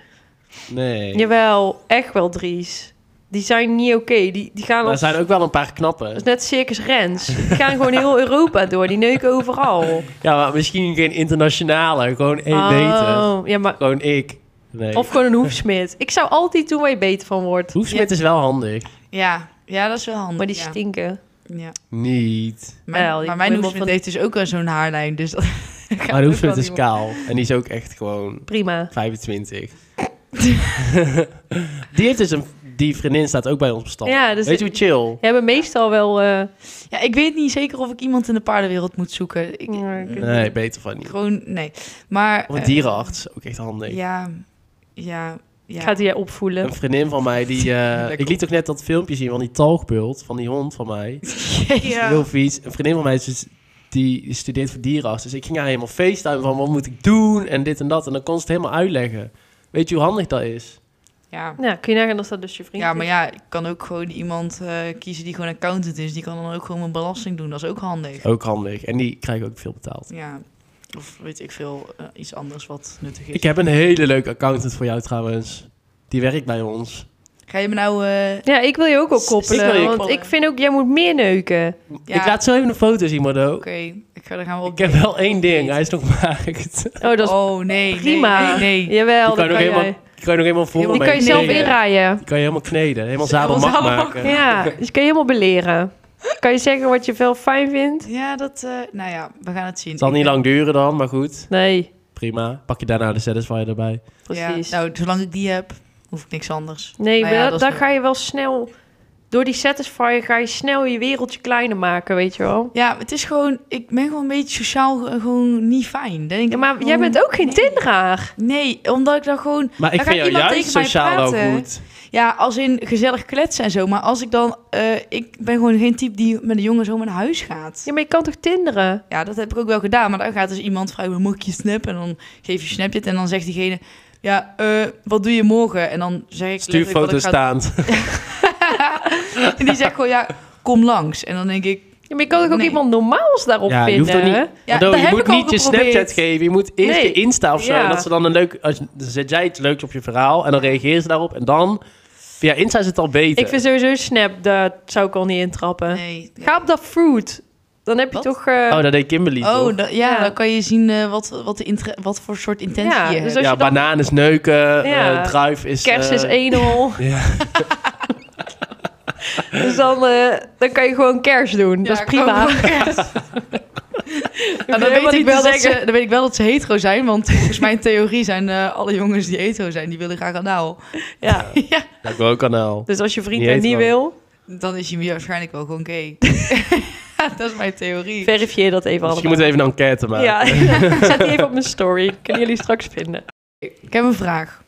Speaker 1: Nee.
Speaker 2: Jawel, echt wel Dries. Die zijn niet oké. Die, die gaan
Speaker 1: Maar er
Speaker 2: als,
Speaker 1: zijn ook wel een paar knappen.
Speaker 2: als net Circus Rens. Die gaan gewoon heel Europa door. Die neuken overal.
Speaker 1: Ja, maar misschien geen internationale. Gewoon één meter.
Speaker 2: Oh, ja, maar,
Speaker 1: Gewoon ik. Nee.
Speaker 2: of gewoon een hoefsmid. Ik zou altijd doen waar je beter van wordt.
Speaker 1: Hoefsmid is wel handig.
Speaker 3: ja, ja, dat is wel handig.
Speaker 2: Maar die
Speaker 3: ja.
Speaker 2: stinken.
Speaker 3: Ja.
Speaker 1: Niet.
Speaker 3: Mijn-
Speaker 2: Wel, je
Speaker 3: maar
Speaker 2: moet
Speaker 3: mijn
Speaker 2: helemaal
Speaker 3: hoesmid
Speaker 2: van-
Speaker 3: heeft dus ook wel zo'n haarlijn. Dus dat gaat
Speaker 1: maar de
Speaker 3: ook
Speaker 1: hoefsmid
Speaker 3: wel
Speaker 1: is
Speaker 3: niet
Speaker 1: kaal. En die is ook echt gewoon
Speaker 2: Prima.
Speaker 1: 25. die heeft dus een... Die vriendin staat ook bij ons op stand.
Speaker 2: Ja, dus
Speaker 1: Weet je hoe chill?
Speaker 2: Die hebben meestal wel... eh,
Speaker 3: worden. Ja, ik weet niet zeker of ik iemand in de paardenwereld moet zoeken. Ik,
Speaker 2: Nee, ik-
Speaker 1: Nee, beter van niet.
Speaker 3: Gewoon, nee. Maar.
Speaker 1: Of een
Speaker 3: eh,
Speaker 1: dierenarts. Ook echt handig.
Speaker 3: ja, ja, ja.
Speaker 2: Gaat hij jij opvoelen.
Speaker 1: Een vriendin van mij die... eh,
Speaker 3: Lekker.
Speaker 1: ik liet ook net dat filmpje zien van die talgbult. Van die hond van mij. Heel vies. Een vriendin van mij is dus- die studeert voor dierenarts. Dus ik ging haar helemaal facetimen van wat moet ik doen en dit en dat. En dan kon ze het helemaal uitleggen. Weet je hoe handig dat is?
Speaker 3: Ja.
Speaker 2: Nou, kun je nagaan als dat dus je vriend
Speaker 3: Ja,
Speaker 2: is?
Speaker 3: maar ja, ik kan ook gewoon iemand eh, kiezen die gewoon accountant is. Die kan dan ook gewoon mijn belasting doen. Dat is ook handig.
Speaker 1: Ook handig. En die krijgen ook veel betaald.
Speaker 3: Ja, of weet ik veel, eh, iets anders wat nuttig is.
Speaker 1: Ik heb een hele leuke accountant voor jou trouwens. Die werkt bij ons.
Speaker 3: Ga je me nou... eh,
Speaker 2: Ja, ik wil je ook wel koppelen.
Speaker 1: Ik wil je
Speaker 2: want
Speaker 3: koppelen.
Speaker 2: ik vind ook, jij moet meer neuken.
Speaker 3: ja,
Speaker 1: Ik laat zo even een foto zien, Mardo.
Speaker 3: Oké, ik ga, dan gaan we op...
Speaker 1: Ik heb wel één ding, hij is nog maagd.
Speaker 2: Oh, dat is
Speaker 3: Oh, nee. nee,
Speaker 2: prima.
Speaker 3: Nee, nee.
Speaker 2: Jawel,
Speaker 1: Die kan
Speaker 2: dat
Speaker 1: je nog
Speaker 2: kan
Speaker 1: helemaal,
Speaker 2: jij.
Speaker 1: die kan je nog helemaal voor
Speaker 3: Die
Speaker 2: Die
Speaker 1: me
Speaker 2: kan je zelf
Speaker 1: kneden.
Speaker 2: inraaien.
Speaker 1: Die kan je helemaal kneden, helemaal zadelmak
Speaker 3: Helemaal
Speaker 1: maken.
Speaker 2: Ja, dus kan je helemaal beleren. Kan je zeggen wat je veel fijn vindt?
Speaker 3: Ja, dat... eh, nou ja, we gaan het zien.
Speaker 1: Het zal niet lang duren dan, maar goed.
Speaker 2: Nee,
Speaker 1: Prima. Pak je daarna de Satisfyer erbij.
Speaker 2: precies.
Speaker 3: Ja, nou, zolang ik die heb, hoef ik niks anders.
Speaker 2: nee,
Speaker 3: nou ja,
Speaker 2: wel-
Speaker 3: dat is
Speaker 2: dan
Speaker 3: wel-
Speaker 2: ga je wel snel... Door die Satisfyer ga je snel je wereldje kleiner maken, weet je wel.
Speaker 3: Ja, het is gewoon... Ik ben gewoon een beetje sociaal eh, gewoon niet fijn. Dan denk ik
Speaker 2: Ja, maar jij
Speaker 3: gewoon-
Speaker 2: bent ook geen
Speaker 3: Oh, nee.
Speaker 2: Tinderaar.
Speaker 3: Nee, omdat ik dan gewoon...
Speaker 1: Maar ik
Speaker 3: Dan gaat
Speaker 1: vind jou
Speaker 3: iemand
Speaker 1: juist
Speaker 3: tegen mij
Speaker 1: sociaal ook
Speaker 3: praten.
Speaker 1: goed.
Speaker 3: Ja, als in gezellig kletsen en zo. Maar als ik dan... eh, ik ben gewoon geen type die met een jongen zo naar huis gaat.
Speaker 2: Ja, maar je kan toch tinderen?
Speaker 3: Ja, dat heb ik ook wel gedaan. Maar dan gaat dus iemand vragen, mag ik je snap? En dan geef je snapje en dan zegt diegene... Ja, eh, wat doe je morgen? En dan zeg ik...
Speaker 1: Stuur
Speaker 3: letterlijk wat ik
Speaker 1: foto's
Speaker 3: ga-
Speaker 1: staand.
Speaker 3: en die zegt gewoon, ja, kom langs. En dan denk ik...
Speaker 2: Ja, maar je kan toch ook
Speaker 3: Nee.
Speaker 2: iemand normaals daarop
Speaker 1: Ja, je hoeft
Speaker 2: vinden?
Speaker 1: toch
Speaker 2: hè?
Speaker 3: Ja,
Speaker 1: Mardo,
Speaker 3: dat
Speaker 1: je
Speaker 3: heb
Speaker 1: moet
Speaker 3: ik al
Speaker 1: niet je
Speaker 3: geprobeerd.
Speaker 1: Snapchat geven. Je moet eerst
Speaker 2: Nee.
Speaker 1: je Insta of zo.
Speaker 2: Ja.
Speaker 1: En dat ze dan een leuk... Als, dan zet jij iets leuks op je verhaal en dan reageert ze daarop. En dan... Via Insta is het al beter.
Speaker 2: Ik vind sowieso Snap, daar zou ik al niet intrappen.
Speaker 3: Nee.
Speaker 2: Ga op dat fruit. Dan heb je
Speaker 3: Wat?
Speaker 2: toch... eh, dus
Speaker 1: Oh, dat deed Kimberly
Speaker 3: Oh,
Speaker 1: toch?
Speaker 3: da- ja,
Speaker 2: Ja.
Speaker 3: dan kan je zien eh, wat, wat, de intre- wat voor soort intentie
Speaker 2: Ja,
Speaker 3: je
Speaker 2: dus
Speaker 3: hebt.
Speaker 2: als
Speaker 1: Ja,
Speaker 2: je dan-
Speaker 1: banaan is neuken.
Speaker 2: Ja.
Speaker 1: eh, druif is...
Speaker 2: Kerst is
Speaker 1: eh,
Speaker 2: anal.
Speaker 1: Ja.
Speaker 2: dus dan, eh, dan kan je gewoon kerst doen. dat is prima.
Speaker 3: Maar Nou, dan, weet ik wel dat ze, dan weet ik wel dat ze hetero zijn, want volgens mijn theorie zijn eh, alle jongens die hetero zijn, die willen graag anaal.
Speaker 2: Ja.
Speaker 3: ja,
Speaker 1: Dat wil ook kanaal.
Speaker 2: Dus als je vriend
Speaker 1: Niet
Speaker 2: dat niet
Speaker 1: hetero.
Speaker 2: wil,
Speaker 3: dan is je waarschijnlijk wel gewoon gay. dat is mijn theorie.
Speaker 2: verifieer dat even
Speaker 1: Misschien
Speaker 2: allemaal.
Speaker 1: moeten we even een enquête maken.
Speaker 2: Ja, zet die even op mijn story. Kunnen jullie straks vinden.
Speaker 3: Ik heb een vraag.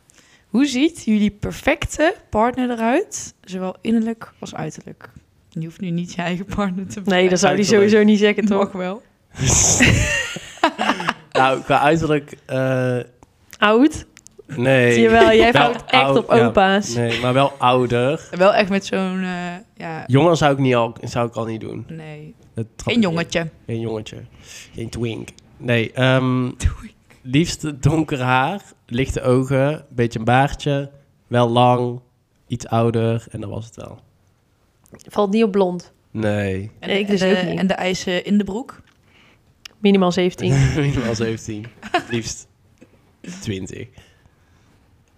Speaker 3: Hoe ziet jullie perfecte partner eruit, zowel innerlijk als uiterlijk? Je hoeft nu niet je eigen partner te
Speaker 2: Nee, dat zou die
Speaker 1: Uiterlijk.
Speaker 2: sowieso niet zeggen, toch?
Speaker 3: mag wel.
Speaker 1: nou, qua uiterlijk... eh,
Speaker 2: Oud?
Speaker 1: nee.
Speaker 2: Zie je wel, jij
Speaker 1: Nou,
Speaker 2: valt echt
Speaker 1: oud,
Speaker 2: op
Speaker 1: ja.
Speaker 2: opa's.
Speaker 1: Nee, maar wel ouder.
Speaker 3: Wel echt met zo'n, eh, ja,
Speaker 1: Jonger zou ik, niet al, zou ik al niet doen.
Speaker 3: nee,
Speaker 1: Dat trap
Speaker 3: een
Speaker 1: ik
Speaker 3: jongetje.
Speaker 1: niet. Geen jongetje. Geen twink. Nee, ehm liefst donker haar, lichte ogen, beetje een baardje, wel lang, iets ouder en dat was het wel.
Speaker 2: Valt niet op blond.
Speaker 1: Nee,
Speaker 3: En,
Speaker 2: Nee, ik
Speaker 3: en
Speaker 2: dus
Speaker 3: de,
Speaker 2: ook niet.
Speaker 3: en de eisen in de broek.
Speaker 2: Minimaal 17.
Speaker 1: minimaal 17. Het liefst 20.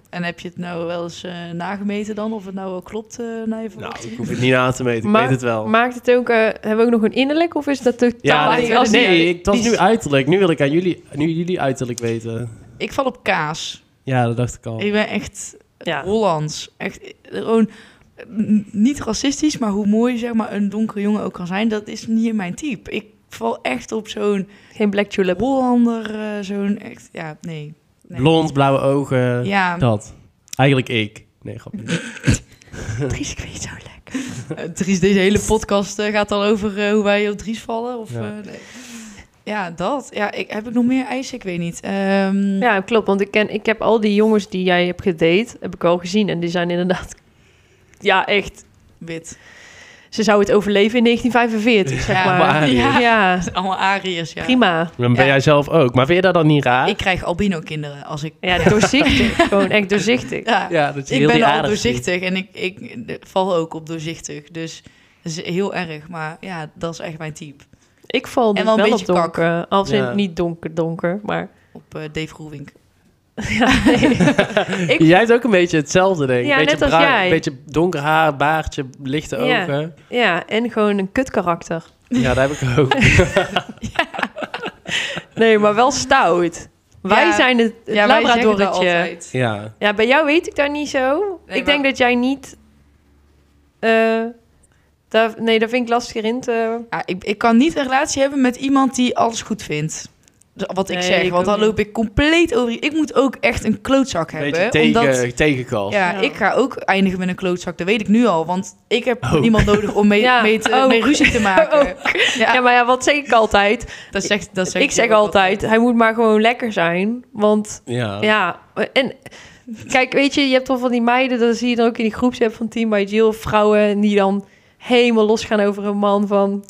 Speaker 3: En heb je het nou wel eens eh, nagemeten dan, of het nou wel klopt eh naar je
Speaker 1: Nou,
Speaker 3: verwachting?
Speaker 1: ik hoef het niet aan te meten, ik
Speaker 2: Maar-
Speaker 1: weet het wel.
Speaker 2: Maakt het ook... eh, hebben we ook nog een innerlijk of is dat totaal
Speaker 1: ja,
Speaker 3: maakt
Speaker 1: nee,
Speaker 3: het
Speaker 2: als
Speaker 3: wel
Speaker 1: nee,
Speaker 3: niet uit.
Speaker 1: ik, dat is nu uiterlijk. Nu wil ik aan jullie, nu jullie uiterlijk weten.
Speaker 3: Ik val op kaas.
Speaker 1: Ja, dat dacht ik al.
Speaker 3: Ik ben echt
Speaker 2: Oh. Ja.
Speaker 3: Hollands. Echt eh, gewoon eh, n- niet racistisch, maar hoe mooi zeg maar, een donkere jongen ook kan zijn, dat is niet mijn type. Ik val echt op zo'n
Speaker 2: Geen black tulip.
Speaker 3: Hollander, eh, zo'n echt, ja, nee. nee.
Speaker 1: Blond, blauwe ogen,
Speaker 3: Ja,
Speaker 1: dat. Eigenlijk ik. Nee, grapje.
Speaker 3: Dries, ik weet zo lekker. eh, Dries, deze hele podcast eh, gaat al over eh, hoe wij op Dries vallen. Of,
Speaker 1: Ja.
Speaker 3: ja. nee. ja, dat. Ja, ik, heb ik nog meer eisen? Ik weet niet. Ehm,
Speaker 2: Ja, klopt. Want ik, ken, ik heb al die jongens die jij hebt gedate, heb ik al gezien. En die zijn inderdaad... Ja, echt.
Speaker 3: Wit.
Speaker 2: Ze zou het overleven in 1945, zeg
Speaker 3: Ja,
Speaker 2: maar.
Speaker 1: maar-
Speaker 2: Ja,
Speaker 3: Ja. Allemaal Ariërs, ja.
Speaker 2: prima.
Speaker 1: Dan ben
Speaker 3: Ja.
Speaker 1: jij zelf ook. Maar vind je dat dan niet raar?
Speaker 3: Ik krijg albino-kinderen als ik...
Speaker 2: Ja, doorzichtig. Gewoon echt doorzichtig.
Speaker 3: Ja,
Speaker 1: ja, dat je
Speaker 3: ik
Speaker 1: heel
Speaker 3: ben
Speaker 1: die
Speaker 3: al
Speaker 1: aardig
Speaker 3: doorzichtig en ik, ik de- val ook op doorzichtig. Dus dat is heel erg. Maar ja, dat is echt mijn type.
Speaker 2: Ik val dus
Speaker 3: En wel
Speaker 2: wel,
Speaker 3: een
Speaker 2: op
Speaker 3: beetje kak.
Speaker 2: donker. Als in
Speaker 1: Ja.
Speaker 2: niet donker, donker. Maar
Speaker 3: Op eh, Dave Roelwink.
Speaker 2: ja, nee. Ik-
Speaker 1: Jij hebt ook een beetje hetzelfde, denk ik.
Speaker 2: Ja,
Speaker 1: beetje
Speaker 2: net als
Speaker 1: bruin,
Speaker 2: jij.
Speaker 1: beetje donker haar, baardje, lichte
Speaker 2: Ja.
Speaker 1: ogen.
Speaker 2: ja, en gewoon een kut karakter.
Speaker 1: Ja, dat heb ik ook.
Speaker 2: Nee, maar wel stout. Wij
Speaker 3: Ja.
Speaker 2: zijn het, het
Speaker 3: Ja, wij zeggen dat
Speaker 2: labradorretje.
Speaker 3: altijd.
Speaker 1: Ja.
Speaker 2: Ja, bij jou weet ik daar niet zo.
Speaker 3: Nee,
Speaker 2: ik denk
Speaker 3: maar-
Speaker 2: dat jij niet... eh, daar, nee, daar vind ik lastiger in te...
Speaker 3: Ja, ik, ik kan niet een relatie hebben met iemand die alles goed vindt. Dus Wat ik
Speaker 2: Nee,
Speaker 3: zeg,
Speaker 2: ik
Speaker 3: want
Speaker 2: ook
Speaker 3: dan loop ik compleet over. Ik moet ook echt een klootzak
Speaker 1: Een
Speaker 3: hebben.
Speaker 1: beetje tegen,
Speaker 3: omdat,
Speaker 1: tegenkast.
Speaker 3: ja,
Speaker 2: Ja.
Speaker 3: ik ga ook eindigen met een klootzak. Dat weet ik nu al, want ik heb
Speaker 1: Ook.
Speaker 3: iemand nodig om mee,
Speaker 2: Ja,
Speaker 3: mee, te-
Speaker 2: ook. Oh.
Speaker 3: mee ruzie te maken. Ja,
Speaker 2: Ja, maar ja, wat zeg ik altijd?
Speaker 3: dat zegt, dat zegt
Speaker 2: ik zeg altijd, hij moet maar gewoon lekker zijn. Want
Speaker 1: Ja.
Speaker 2: ja, en kijk, weet je, je hebt al van die meiden, dat zie je dan ook in die groepsapp van Team by Jill, vrouwen die dan helemaal losgaan over een man van...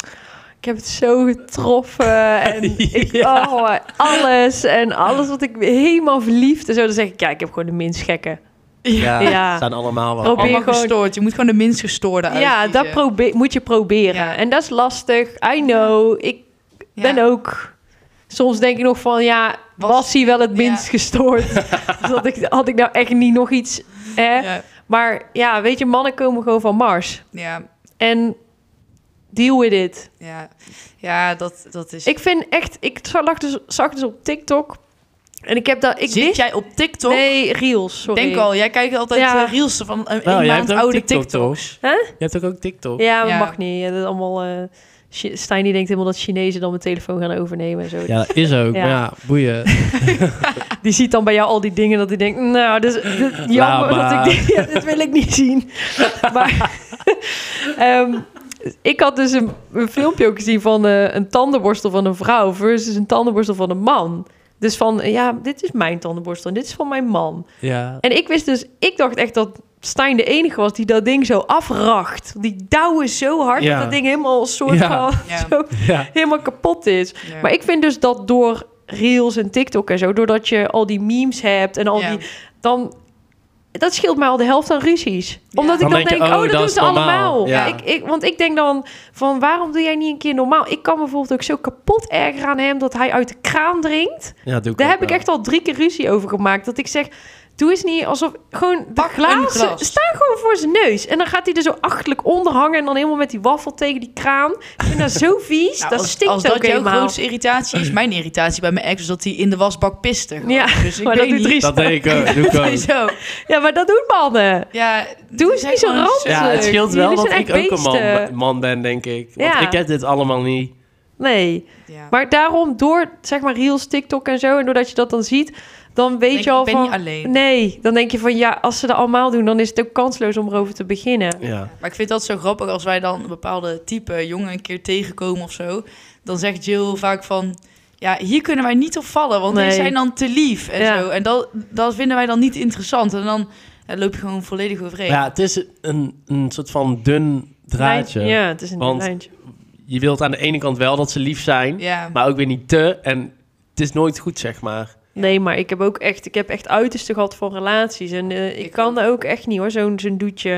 Speaker 2: Ik heb het zo getroffen en ik,
Speaker 1: Ja.
Speaker 2: oh, alles en alles wat ik helemaal verliefd en zo. Dan zeg ik, ja, ik heb gewoon de minst gekke.
Speaker 1: Ja,
Speaker 2: Ja.
Speaker 1: staan allemaal wel.
Speaker 2: Probeer
Speaker 3: Allemaal
Speaker 2: gewoon-
Speaker 3: gestoord. Je moet gewoon de minst gestoorde
Speaker 2: Ja, dat
Speaker 3: uitkiezen.
Speaker 2: probeer, moet je proberen.
Speaker 3: Ja.
Speaker 2: En dat is lastig. I know. Ik ben
Speaker 3: Ja.
Speaker 2: ook... Soms denk ik nog van, ja, was,
Speaker 3: Was-
Speaker 2: hij wel het
Speaker 3: Ja.
Speaker 2: minst gestoord? Dus had, ik, had ik nou echt niet nog iets... Hè?
Speaker 3: Ja,
Speaker 2: Maar ja, weet je, mannen komen gewoon van Mars.
Speaker 3: ja,
Speaker 2: En deal with it.
Speaker 3: ja. ja dat, dat is...
Speaker 2: Ik vind echt... Ik zag dus, zag dus op TikTok... En ik heb dat... Ik
Speaker 3: Zit
Speaker 2: wist-
Speaker 3: jij op TikTok?
Speaker 2: Nee, reels, sorry.
Speaker 3: Denk al, jij kijkt altijd
Speaker 2: Ja.
Speaker 3: eh, reels van een,
Speaker 1: Nou,
Speaker 3: een
Speaker 1: jij
Speaker 3: maand
Speaker 1: hebt ook
Speaker 3: oude
Speaker 1: TikTok,
Speaker 3: TikToks.
Speaker 2: Hè?
Speaker 1: Je hebt ook ook TikTok.
Speaker 2: Ja, dat
Speaker 3: Ja.
Speaker 2: mag niet. Ja, dat is allemaal... eh, Chi- Stijn die denkt helemaal dat Chinezen dan mijn telefoon gaan overnemen en zo.
Speaker 1: Ja, dat is ook.
Speaker 2: Ja.
Speaker 1: Maar ja, boeien.
Speaker 2: Die ziet dan bij jou al die dingen dat hij denkt... Nou, dus, jammer
Speaker 1: Laat maar.
Speaker 2: dat ik die- ja, dit wil ik niet zien. maar ehm, ik had dus een, een filmpje ook gezien van eh, een tandenborstel van een vrouw... versus een tandenborstel van een man. Dus van, eh, ja, dit is mijn tandenborstel en dit is van mijn man.
Speaker 1: Ja.
Speaker 2: En ik wist dus... Ik dacht echt dat Stijn de enige was die dat ding zo afracht. Die douwen zo hard
Speaker 1: Ja.
Speaker 2: dat dat ding helemaal een soort
Speaker 1: Ja.
Speaker 2: van...
Speaker 3: Ja.
Speaker 2: Zo,
Speaker 1: ja.
Speaker 2: helemaal kapot is.
Speaker 3: Ja.
Speaker 2: Maar ik vind dus dat door reels en TikTok en zo, doordat je al die memes hebt en al
Speaker 3: Ja.
Speaker 2: die, dan dat scheelt mij al de helft aan ruzies. Omdat
Speaker 1: Dan
Speaker 2: ik dan
Speaker 1: denk je,
Speaker 2: denk, oh,
Speaker 1: oh,
Speaker 2: dat
Speaker 1: dat
Speaker 2: doen
Speaker 1: is
Speaker 2: ze
Speaker 1: normaal.
Speaker 2: allemaal.
Speaker 1: Ja.
Speaker 2: Ik, ik, want ik denk dan van, waarom doe jij niet een keer normaal? Ik kan bijvoorbeeld ook zo kapot erger aan hem dat hij uit de kraan drinkt.
Speaker 1: ja doe ik
Speaker 2: Daar
Speaker 1: ook
Speaker 2: heb ik
Speaker 1: wel.
Speaker 2: echt al drie keer ruzie over gemaakt. Dat ik zeg, doe eens niet alsof gewoon de
Speaker 3: Pak een
Speaker 2: glazen
Speaker 3: glas.
Speaker 2: staan gewoon voor zijn neus. En dan gaat hij er zo achterlijk onder hangen en dan helemaal met die waffel tegen die kraan. Ik vind dat zo vies.
Speaker 3: Nou,
Speaker 2: dat
Speaker 3: als,
Speaker 2: stinkt
Speaker 3: als
Speaker 2: ook
Speaker 3: dat jouw
Speaker 2: helemaal.
Speaker 3: grootste irritatie is, mijn irritatie bij mijn ex is dat hij in de wasbak piste. gewoon.
Speaker 2: Ja,
Speaker 3: dus ik
Speaker 2: maar dat
Speaker 3: weet
Speaker 2: doet
Speaker 3: niet.
Speaker 2: Dries
Speaker 1: Dat denk ik ook. Doe ik ook.
Speaker 3: Zo.
Speaker 2: Ja, maar dat doen mannen.
Speaker 3: Ja,
Speaker 2: Doe eens
Speaker 3: zeg
Speaker 2: niet zo
Speaker 3: gewoon
Speaker 2: ranzig.
Speaker 1: Ja, het scheelt
Speaker 2: Jullie
Speaker 1: wel dat
Speaker 2: zijn
Speaker 1: ik
Speaker 2: echt
Speaker 1: ook een man,
Speaker 2: beesten.
Speaker 1: man ben, denk ik. Want
Speaker 2: Ja.
Speaker 1: ik heb dit allemaal niet.
Speaker 2: Nee.
Speaker 3: Ja.
Speaker 2: Maar daarom, door zeg maar reels, TikTok en zo, en doordat je dat dan ziet, dan weet
Speaker 3: Denk,
Speaker 2: je al
Speaker 3: ik ben
Speaker 2: van...
Speaker 3: niet alleen.
Speaker 2: Nee, dan denk je van ja, als ze dat allemaal doen, dan is het ook kansloos om erover te beginnen.
Speaker 1: Ja.
Speaker 3: Maar ik vind dat zo grappig als wij dan een bepaalde type jongen een keer tegenkomen of zo. Dan zegt Jill vaak van, ja, hier kunnen wij niet op vallen, want
Speaker 2: Nee.
Speaker 3: die zijn dan te lief en
Speaker 2: Ja.
Speaker 3: zo. En dat, dat vinden wij dan niet interessant. En dan ja, loop je gewoon volledig overheen.
Speaker 1: Maar ja, het is een, een soort van dun draadje.
Speaker 2: Lijn- Ja, het is een
Speaker 1: Want-
Speaker 2: lijntje.
Speaker 1: Je wilt aan de ene kant wel dat ze lief zijn,
Speaker 3: Ja.
Speaker 1: maar ook weer niet te. En het is nooit goed, zeg maar.
Speaker 2: Nee, maar ik heb ook echt, ik heb echt uiterste gehad van relaties. En eh, ik,
Speaker 3: Ik
Speaker 2: kan
Speaker 3: ook.
Speaker 2: daar ook echt niet hoor, zo'n zo'n doetje.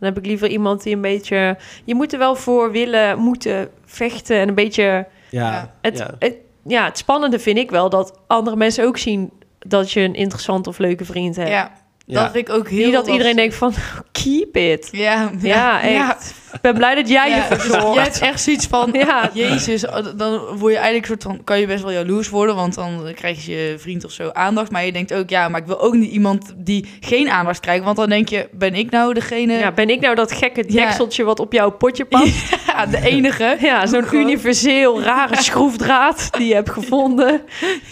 Speaker 2: Dan heb ik liever iemand die een beetje... Je moet er wel voor willen, moeten vechten en een beetje...
Speaker 1: Ja.
Speaker 3: Ja.
Speaker 2: Het,
Speaker 1: ja.
Speaker 2: Het, ja, het spannende vind ik wel dat andere mensen ook zien dat je een interessant of leuke vriend hebt.
Speaker 3: Ja, dat
Speaker 1: Ja.
Speaker 3: vind ik ook heel
Speaker 2: Niet dat iedereen
Speaker 3: lastig.
Speaker 2: denkt van, keep it.
Speaker 3: Ja,
Speaker 2: Ja, echt. Ik ben blij dat jij
Speaker 3: Ja,
Speaker 2: je
Speaker 3: dus je
Speaker 2: verzorgt.
Speaker 3: hebt echt zoiets van,
Speaker 2: Ja.
Speaker 3: jezus, oh, dan word je eigenlijk soort van, kan je best wel jaloers worden, want dan krijg je je vriend of zo aandacht. Maar je denkt ook, ja, maar ik wil ook niet iemand die geen aandacht krijgt, want dan denk je, ben ik nou degene,
Speaker 2: Ja, ben ik nou dat gekke
Speaker 3: Ja.
Speaker 2: dekseltje wat op jouw potje past?
Speaker 3: Ja, Oh, de enige?
Speaker 2: Ja, zo'n
Speaker 3: Gewoon.
Speaker 2: universeel rare schroefdraad die je hebt gevonden.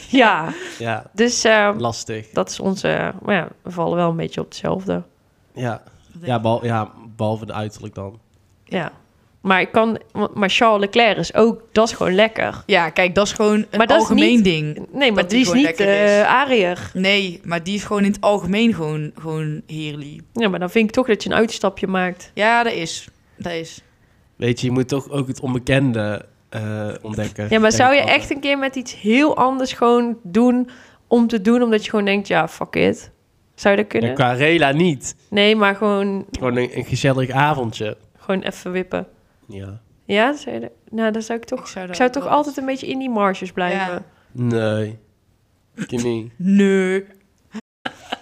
Speaker 2: Ja,
Speaker 1: ja,
Speaker 2: dus eh,
Speaker 1: lastig.
Speaker 2: dat is onze... Maar ja, we vallen wel een beetje op hetzelfde.
Speaker 1: Ja, ja, behal- ja behalve de uiterlijk dan.
Speaker 2: Ja. Maar, ik kan, maar Charles Leclerc is ook... Dat is gewoon lekker.
Speaker 3: Ja, kijk, dat is gewoon een
Speaker 2: Maar dat is
Speaker 3: algemeen
Speaker 2: niet-
Speaker 3: ding.
Speaker 2: Nee, maar
Speaker 3: Dat die
Speaker 2: die is
Speaker 3: gewoon
Speaker 2: niet
Speaker 3: lekker is.
Speaker 2: eh ariër.
Speaker 3: Nee, maar die is gewoon in het algemeen gewoon, gewoon heerlijk.
Speaker 2: Ja, maar dan vind ik toch dat je een uitstapje maakt.
Speaker 3: Ja, dat is. Dat is.
Speaker 1: Weet je, je moet toch ook het onbekende eh, ontdekken. eh,
Speaker 2: Ja, maar
Speaker 1: denk
Speaker 2: zou
Speaker 1: ik
Speaker 2: je
Speaker 1: altijd.
Speaker 2: echt een keer met iets heel anders gewoon doen om te doen, omdat je gewoon denkt, ja, fuck it. Zou je dat
Speaker 1: Ja,
Speaker 2: kunnen?
Speaker 1: qua rela niet.
Speaker 2: Nee, maar gewoon,
Speaker 1: Gewoon een, een gezellig avondje.
Speaker 2: gewoon even wippen.
Speaker 1: Ja.
Speaker 2: Ja, zou je dat- nou, dan zou ik toch,
Speaker 3: Ik zou
Speaker 2: ik
Speaker 3: dat
Speaker 2: zou
Speaker 3: ook
Speaker 2: toch
Speaker 3: wel
Speaker 2: altijd een beetje in die marges blijven.
Speaker 3: Ja.
Speaker 1: Nee. Ik niet.
Speaker 3: Nee.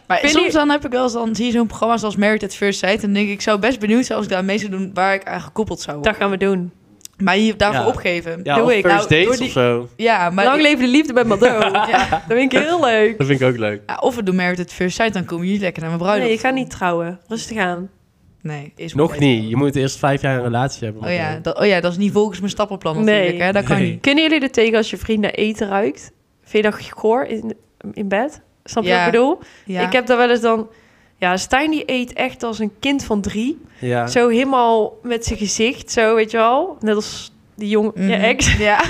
Speaker 3: Maar
Speaker 2: Vind
Speaker 3: soms
Speaker 2: je-
Speaker 3: dan heb ik wel eens, dan zie je zo'n programma's als Married at First Sight. En dan denk ik, ik zou best benieuwd zijn als ik daar mee zou doen waar ik aan gekoppeld zou
Speaker 2: Dat
Speaker 3: worden.
Speaker 2: gaan we doen.
Speaker 3: Maar hier daarvoor
Speaker 1: Ja.
Speaker 3: opgeven. Ja,
Speaker 1: Ja,
Speaker 2: Doe
Speaker 1: of
Speaker 2: ik.
Speaker 1: first
Speaker 3: Nou,
Speaker 1: dates
Speaker 3: door die-
Speaker 1: of zo.
Speaker 3: maar...
Speaker 2: Lang
Speaker 3: ik-
Speaker 2: leven de liefde bij Mado.
Speaker 3: ja.
Speaker 2: Dat vind ik heel leuk.
Speaker 1: Dat vind ik ook leuk.
Speaker 3: Ja, of we doen Married at First Sight, dan komen jullie lekker naar mijn bruiloft.
Speaker 2: Nee, je gaat niet trouwen. Rustig aan.
Speaker 3: Nee, is
Speaker 1: Nog niet. Je moet eerst vijf jaar een relatie hebben.
Speaker 3: Oh
Speaker 1: met
Speaker 3: ja,
Speaker 1: hem.
Speaker 3: dat, oh ja, dat is niet volgens mijn stappenplan
Speaker 2: Nee.
Speaker 3: natuurlijk. Hè? Dat kan
Speaker 1: Nee.
Speaker 3: niet.
Speaker 2: Kunnen jullie er tegen als je vriend naar eten ruikt? Vind je dat goor in, in bed? Snap je
Speaker 3: Ja.
Speaker 2: wat ik bedoel?
Speaker 3: Ja.
Speaker 2: Ik heb daar wel eens dan... Ja, Stijn die eet echt als een kind van drie.
Speaker 1: Ja.
Speaker 2: Zo helemaal met zijn gezicht, zo weet je wel. Net als die jongen,
Speaker 3: Mhm.
Speaker 2: je ex.
Speaker 3: Ja.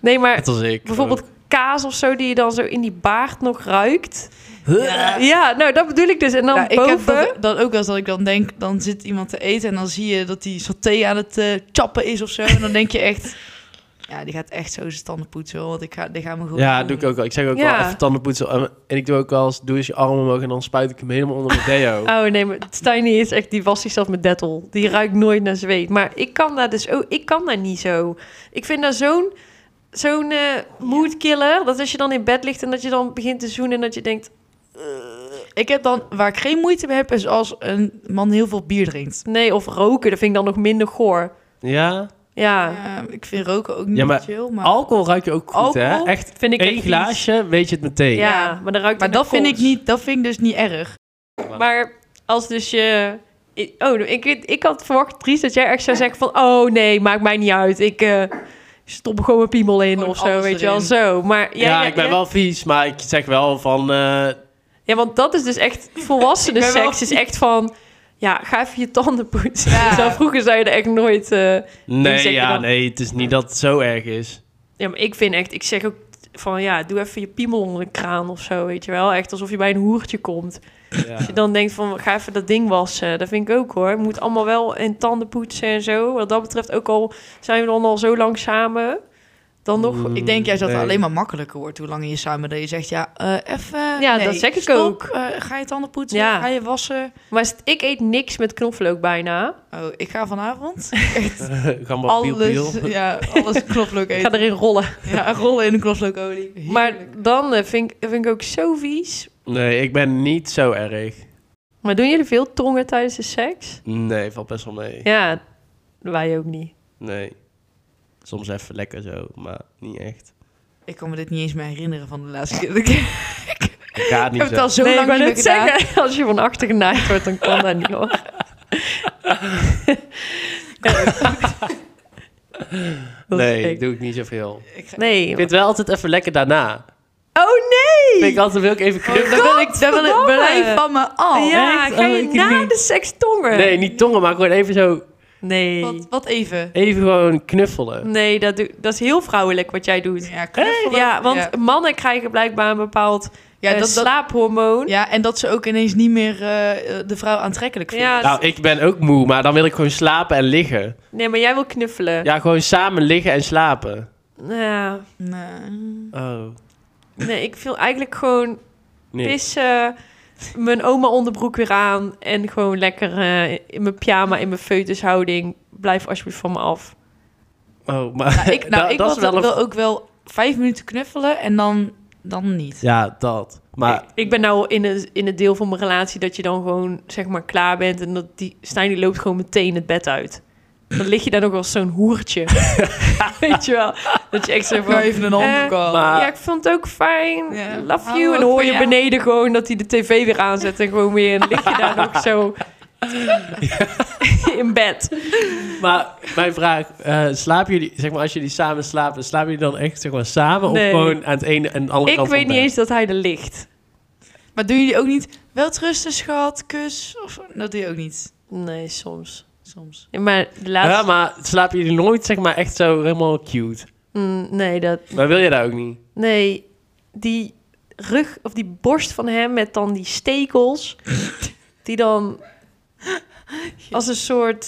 Speaker 2: Nee, maar
Speaker 1: Net als ik.
Speaker 2: bijvoorbeeld kaas of zo die je dan zo in die baard nog ruikt.
Speaker 3: Ah.
Speaker 1: Ja.
Speaker 2: Ja, nou dat bedoel ik dus. En dan
Speaker 3: Ja, ik heb
Speaker 2: boven...
Speaker 3: dat, dat ook wel eens dat ik dan denk, dan zit iemand te eten en dan zie je dat die saté aan het eh, chappen is of zo. En dan denk je echt, Ja, die gaat echt zo zijn tanden poetsen, hoor, want ik ga, die gaan me goed
Speaker 1: Ja, dat doe ik ook wel. Ik zeg ook
Speaker 2: Ja.
Speaker 1: wel even tandenpoetsen. En- En ik doe ook wel eens, doe eens je armen omhoog en dan spuit ik hem helemaal onder mijn deo.
Speaker 2: Oh nee, maar Stiny is echt, die was zichzelf met Dettol. Die ruikt nooit naar zweet. Maar ik kan daar dus ook, ik kan daar niet zo. Ik vind daar zo'n zo'n eh, moodkiller. Dat als je dan in bed ligt en dat je dan begint te zoenen en dat je denkt,
Speaker 3: Ik heb dan, waar ik geen moeite mee heb, is als een man heel veel bier drinkt.
Speaker 2: nee, of roken, dat vind ik dan nog minder goor.
Speaker 1: Ja?
Speaker 2: Ja,
Speaker 3: Ja, ik vind roken ook niet
Speaker 1: Ja, maar
Speaker 3: chill, maar...
Speaker 1: Alcohol ruik je ook goed, hè?
Speaker 3: Alcohol
Speaker 1: Echt
Speaker 2: vind ik echt
Speaker 1: één
Speaker 2: vies.
Speaker 1: glaasje, weet je het meteen.
Speaker 2: Ja, maar dan ruikt
Speaker 3: Maar
Speaker 2: het
Speaker 3: dat
Speaker 2: naar
Speaker 3: vind ik
Speaker 2: kots.
Speaker 3: niet, dat vind ik dus niet erg.
Speaker 2: Maar als dus je... ik- Oh, ik, weet- ik had verwacht, Dries, dat jij echt zou zeggen van... Oh nee, maakt mij niet uit. Ik eh, stop er gewoon mijn piemel in
Speaker 3: Gewoon
Speaker 2: of zo,
Speaker 3: alles
Speaker 2: weet je wel.
Speaker 3: erin.
Speaker 2: Zo, maar...
Speaker 1: Ja,
Speaker 2: jij- jij-
Speaker 1: ik ben
Speaker 2: jij-
Speaker 1: wel vies, maar ik zeg wel van... eh,
Speaker 2: Ja, want dat is dus echt... Volwassene
Speaker 3: Ik ben wel
Speaker 2: seks is echt van... Ja, ga even je tanden poetsen.
Speaker 3: Ja.
Speaker 2: Zo vroeger zou je er echt nooit... eh, zeg je
Speaker 1: nee, ja,
Speaker 2: dan?
Speaker 1: nee, het is niet dat het zo erg is.
Speaker 2: Ja, maar ik vind echt... Ik zeg ook van... Ja, doe even je piemel onder de kraan of zo, weet je wel. Echt alsof je bij een hoertje komt.
Speaker 1: Ja.
Speaker 2: Als je dan denkt van, ga even dat ding wassen. Dat vind ik ook hoor. Moet allemaal wel en tanden poetsen en zo. Wat dat betreft ook al zijn we dan al zo lang samen. Dan nog...
Speaker 1: Mm.
Speaker 3: Ik denk juist dat het
Speaker 1: Nee.
Speaker 3: alleen maar makkelijker wordt hoe langer je samen dat je zegt ja, eh even.
Speaker 2: Ja,
Speaker 3: nee,
Speaker 2: dat zeg ik
Speaker 3: stop,
Speaker 2: ook.
Speaker 3: eh, ga je tanden poetsen?
Speaker 2: Ja.
Speaker 3: Ga je wassen?
Speaker 2: Maar st- ik eet niks met knoflook bijna.
Speaker 3: Oh, ik ga vanavond
Speaker 1: Gamba piel,
Speaker 3: alles,
Speaker 1: piel.
Speaker 3: ja, alles knoflook
Speaker 2: Ik ga
Speaker 3: eten.
Speaker 2: erin rollen.
Speaker 3: Ja, rollen in de knoflookolie. Heerlijk.
Speaker 2: Maar dan eh, vind, ik, vind ik ook zo vies.
Speaker 1: Nee, ik ben niet zo erg.
Speaker 2: Maar doen jullie veel tongen tijdens de seks?
Speaker 1: Nee, valt best wel mee.
Speaker 2: Ja, wij ook niet.
Speaker 1: Nee. Soms even lekker zo, maar niet echt.
Speaker 3: ik kan me dit niet eens meer herinneren van de laatste keer. Ik heb
Speaker 1: Ik ga het niet
Speaker 3: het
Speaker 1: zo.
Speaker 3: al zo
Speaker 2: nee,
Speaker 3: lang
Speaker 2: ik
Speaker 3: niet
Speaker 2: wou
Speaker 3: meer
Speaker 2: net
Speaker 3: gedaan.
Speaker 2: zeggen, als je van achter genaaid wordt, dan kan dat niet hoor. Dat is
Speaker 1: Nee,
Speaker 2: echt-
Speaker 1: doe ik niet zoveel.
Speaker 3: Ik ga-
Speaker 1: Ik
Speaker 2: nee.
Speaker 1: vind het wel altijd even lekker daarna.
Speaker 2: Oh nee!
Speaker 1: Vind ik altijd wil ik even
Speaker 3: Oh,
Speaker 1: knuffelen.
Speaker 3: dan wil ik, dan wil ik
Speaker 2: Godverdomme.
Speaker 3: blij van me af.
Speaker 2: ja,
Speaker 1: echt?
Speaker 2: ga
Speaker 1: Oh,
Speaker 2: je
Speaker 1: ik
Speaker 2: na
Speaker 1: niet.
Speaker 2: de seks tongen?
Speaker 1: Nee, niet tongen, maar gewoon even zo...
Speaker 2: Nee,
Speaker 3: Wat, wat even.
Speaker 1: Even gewoon knuffelen.
Speaker 2: nee dat, doe- dat is heel vrouwelijk wat jij doet.
Speaker 3: Ja, knuffelen.
Speaker 2: Ja, want
Speaker 3: ja.
Speaker 2: mannen krijgen blijkbaar een bepaald
Speaker 3: Ja,
Speaker 2: eh,
Speaker 3: dat, dat,
Speaker 2: slaaphormoon.
Speaker 3: ja, en dat ze ook ineens niet meer eh, eh, de vrouw aantrekkelijk vinden.
Speaker 2: Ja, dus-
Speaker 1: Nou, ik ben ook moe, maar dan wil ik gewoon slapen en liggen.
Speaker 2: Nee, maar jij wil knuffelen.
Speaker 1: Ja, gewoon samen liggen en slapen.
Speaker 2: Ja,
Speaker 3: Nee.
Speaker 1: Oh.
Speaker 2: nee, ik wil eigenlijk gewoon
Speaker 1: Nee.
Speaker 2: pissen, mijn oma onderbroek weer aan en gewoon lekker eh, in mijn pyjama, in mijn feutushouding. Blijf alsjeblieft van me af.
Speaker 1: Oh, maar...
Speaker 3: Nou, ik, nou,
Speaker 1: dat-
Speaker 3: ik
Speaker 1: dat
Speaker 3: wil,
Speaker 1: is wel een...
Speaker 3: wil ook wel vijf minuten knuffelen en dan, dan niet.
Speaker 1: Ja, dat. Maar...
Speaker 2: Ik, ik ben nou in het, in het deel van mijn relatie dat je dan gewoon zeg maar klaar bent en dat die Stijn die loopt gewoon meteen het bed uit. Dan lig je daar nog als zo'n hoertje. Weet je wel? Dat je echt zo van...
Speaker 3: nou even een
Speaker 2: handdoek
Speaker 3: al.
Speaker 1: maar-
Speaker 2: Ja, ik vond het ook fijn.
Speaker 3: Ja.
Speaker 2: Love
Speaker 3: Hou
Speaker 2: you.
Speaker 3: ook
Speaker 2: En hoor
Speaker 3: van
Speaker 2: je
Speaker 3: jou.
Speaker 2: beneden gewoon dat hij de tv weer aanzet en gewoon weer... En lig je daar nog zo... in bed.
Speaker 1: Maar mijn vraag, eh, slapen jullie, zeg maar als jullie samen slapen, slapen jullie dan echt zeg maar samen
Speaker 2: Nee.
Speaker 1: of gewoon aan het ene en de andere
Speaker 2: Ik
Speaker 1: kant
Speaker 2: weet
Speaker 1: van
Speaker 2: niet
Speaker 1: bed?
Speaker 2: eens dat hij er ligt.
Speaker 3: maar doen jullie ook niet wel rusten, schat, kus? Of, dat doe je ook niet
Speaker 2: Nee, soms.
Speaker 3: soms.
Speaker 2: Ja, maar de
Speaker 1: Ja,
Speaker 2: laatste...
Speaker 1: maar slapen jullie nooit zeg maar echt zo helemaal cute?
Speaker 2: Mm, nee, dat...
Speaker 1: Maar wil je dat ook niet?
Speaker 2: Nee, die rug of die borst van hem met dan die stekels. die dan als een soort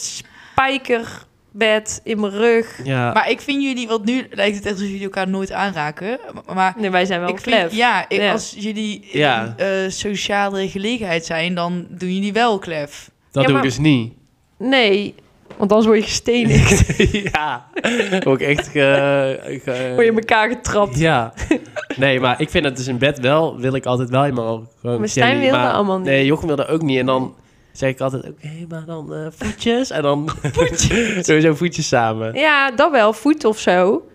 Speaker 2: spijkerbed in mijn rug.
Speaker 1: Ja.
Speaker 3: Maar ik vind jullie, want nu lijkt het echt alsof jullie elkaar nooit aanraken. Maar, maar
Speaker 2: Nee, wij zijn wel
Speaker 3: ik
Speaker 2: klef.
Speaker 3: vind, ja, ik-
Speaker 2: Ja.
Speaker 3: als jullie in
Speaker 1: Ja.
Speaker 3: een, eh, sociale gelegenheid zijn, dan doen jullie wel klef.
Speaker 1: dat
Speaker 2: ja,
Speaker 1: doe
Speaker 2: maar-
Speaker 1: ik dus niet.
Speaker 2: Nee, want anders word je gestenigd.
Speaker 1: ja, ook echt ge, ge-
Speaker 2: word je in elkaar getrapt.
Speaker 1: Ja. Nee, maar ik vind het dus in bed wel, wil ik altijd wel helemaal gewoon...
Speaker 2: Maar Stijn
Speaker 1: jelly,
Speaker 2: wilde
Speaker 1: maar-
Speaker 2: allemaal niet.
Speaker 1: Nee, Jochem wilde ook niet. En dan zeg ik altijd, oké, maar dan eh, voetjes. En dan sowieso voetjes samen.
Speaker 2: Ja, dat wel, voet of zo.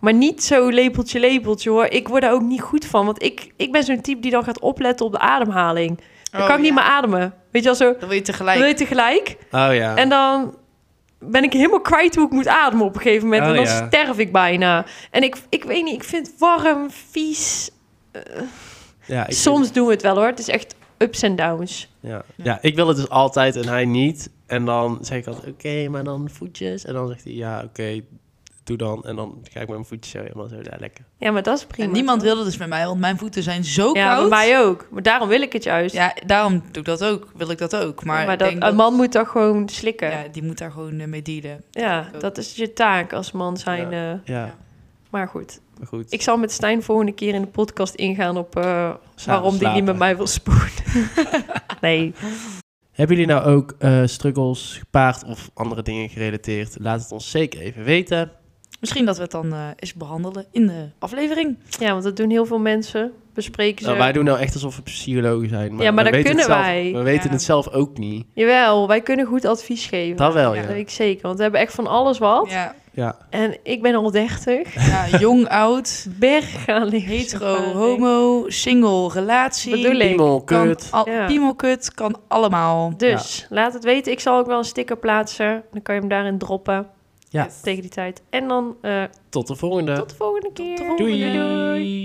Speaker 2: Maar niet zo lepeltje, lepeltje hoor. Ik word daar ook niet goed van. Want ik, ik ben zo'n type die dan gaat opletten op de ademhaling. Dan
Speaker 3: Oh,
Speaker 2: kan ik
Speaker 3: ja.
Speaker 2: niet meer ademen. Weet je wel, zo
Speaker 3: Dan wil je tegelijk.
Speaker 2: wil je tegelijk.
Speaker 1: Oh ja.
Speaker 2: En dan ben ik helemaal kwijt hoe ik moet ademen op een gegeven moment.
Speaker 1: Oh,
Speaker 2: en dan
Speaker 1: ja.
Speaker 2: sterf ik bijna. En ik, ik weet niet, ik vind het warm, vies. eh,
Speaker 1: ja, ik-
Speaker 2: Soms doen we het wel hoor. Het is echt ups en downs.
Speaker 1: Ja. ja, ik wil het dus altijd en hij niet. En dan zeg ik altijd, oké, maar dan voetjes. En dan zegt hij, ja, oké, doe dan. En dan ga ik met mijn voetjes zo helemaal zo, ja, lekker.
Speaker 2: Ja, maar dat is prima.
Speaker 3: en niemand wil dat dus met mij, want mijn voeten zijn zo
Speaker 2: Ja, bij
Speaker 3: koud.
Speaker 2: mij ook. Maar daarom wil ik het juist.
Speaker 3: Ja, daarom doe ik dat ook. Wil ik dat ook. Maar,
Speaker 2: maar
Speaker 3: ik
Speaker 2: dat,
Speaker 3: denk
Speaker 2: een man moet toch gewoon slikken.
Speaker 3: ja,
Speaker 2: Ja,
Speaker 3: die moet daar gewoon eh, mee dealen. ook.
Speaker 2: dat is je taak als man zijn. eh.
Speaker 1: Ja.
Speaker 3: Ja.
Speaker 2: Maar goed,
Speaker 1: Maar goed.
Speaker 2: ik zal met Stijn volgende keer in de podcast ingaan op eh, waarom die
Speaker 1: slapen.
Speaker 2: niet met mij wil spoelen. nee.
Speaker 1: Hebben jullie nou ook eh, struggles gepaard of andere dingen gerelateerd? Laat het ons zeker even weten.
Speaker 3: Misschien dat we het dan eh, eens behandelen in de aflevering.
Speaker 2: Ja, want dat doen heel veel mensen. Bespreken ze.
Speaker 1: Nou, wij doen nou echt alsof we psychologen zijn. Maar
Speaker 2: Ja, maar
Speaker 1: we
Speaker 2: dat
Speaker 1: weten het
Speaker 2: kunnen
Speaker 1: zelf-
Speaker 2: wij.
Speaker 1: We weten
Speaker 3: Ja.
Speaker 1: het zelf ook niet.
Speaker 2: Jawel, wij kunnen goed advies geven.
Speaker 1: Dat wel,
Speaker 2: Dat
Speaker 1: ja.
Speaker 2: weet ik zeker, want we hebben echt van alles wat.
Speaker 3: Ja,
Speaker 1: Ja,
Speaker 2: En ik ben al 30.
Speaker 3: ja, jong, oud,
Speaker 2: Berg gaan liggen.
Speaker 3: hetero, homo, single, relatie.
Speaker 2: Bedoel ik.
Speaker 1: piemel,
Speaker 3: kan
Speaker 1: kut.
Speaker 3: Al,
Speaker 2: Ja.
Speaker 3: Piemelkut kan allemaal.
Speaker 2: Dus laat het weten. Ik zal ook wel een sticker plaatsen. Dan kan je hem daarin droppen.
Speaker 1: Ja.
Speaker 2: Tegen die tijd. En dan eh,
Speaker 1: Tot de volgende.
Speaker 2: tot de volgende keer.
Speaker 3: volgende.
Speaker 1: Doei.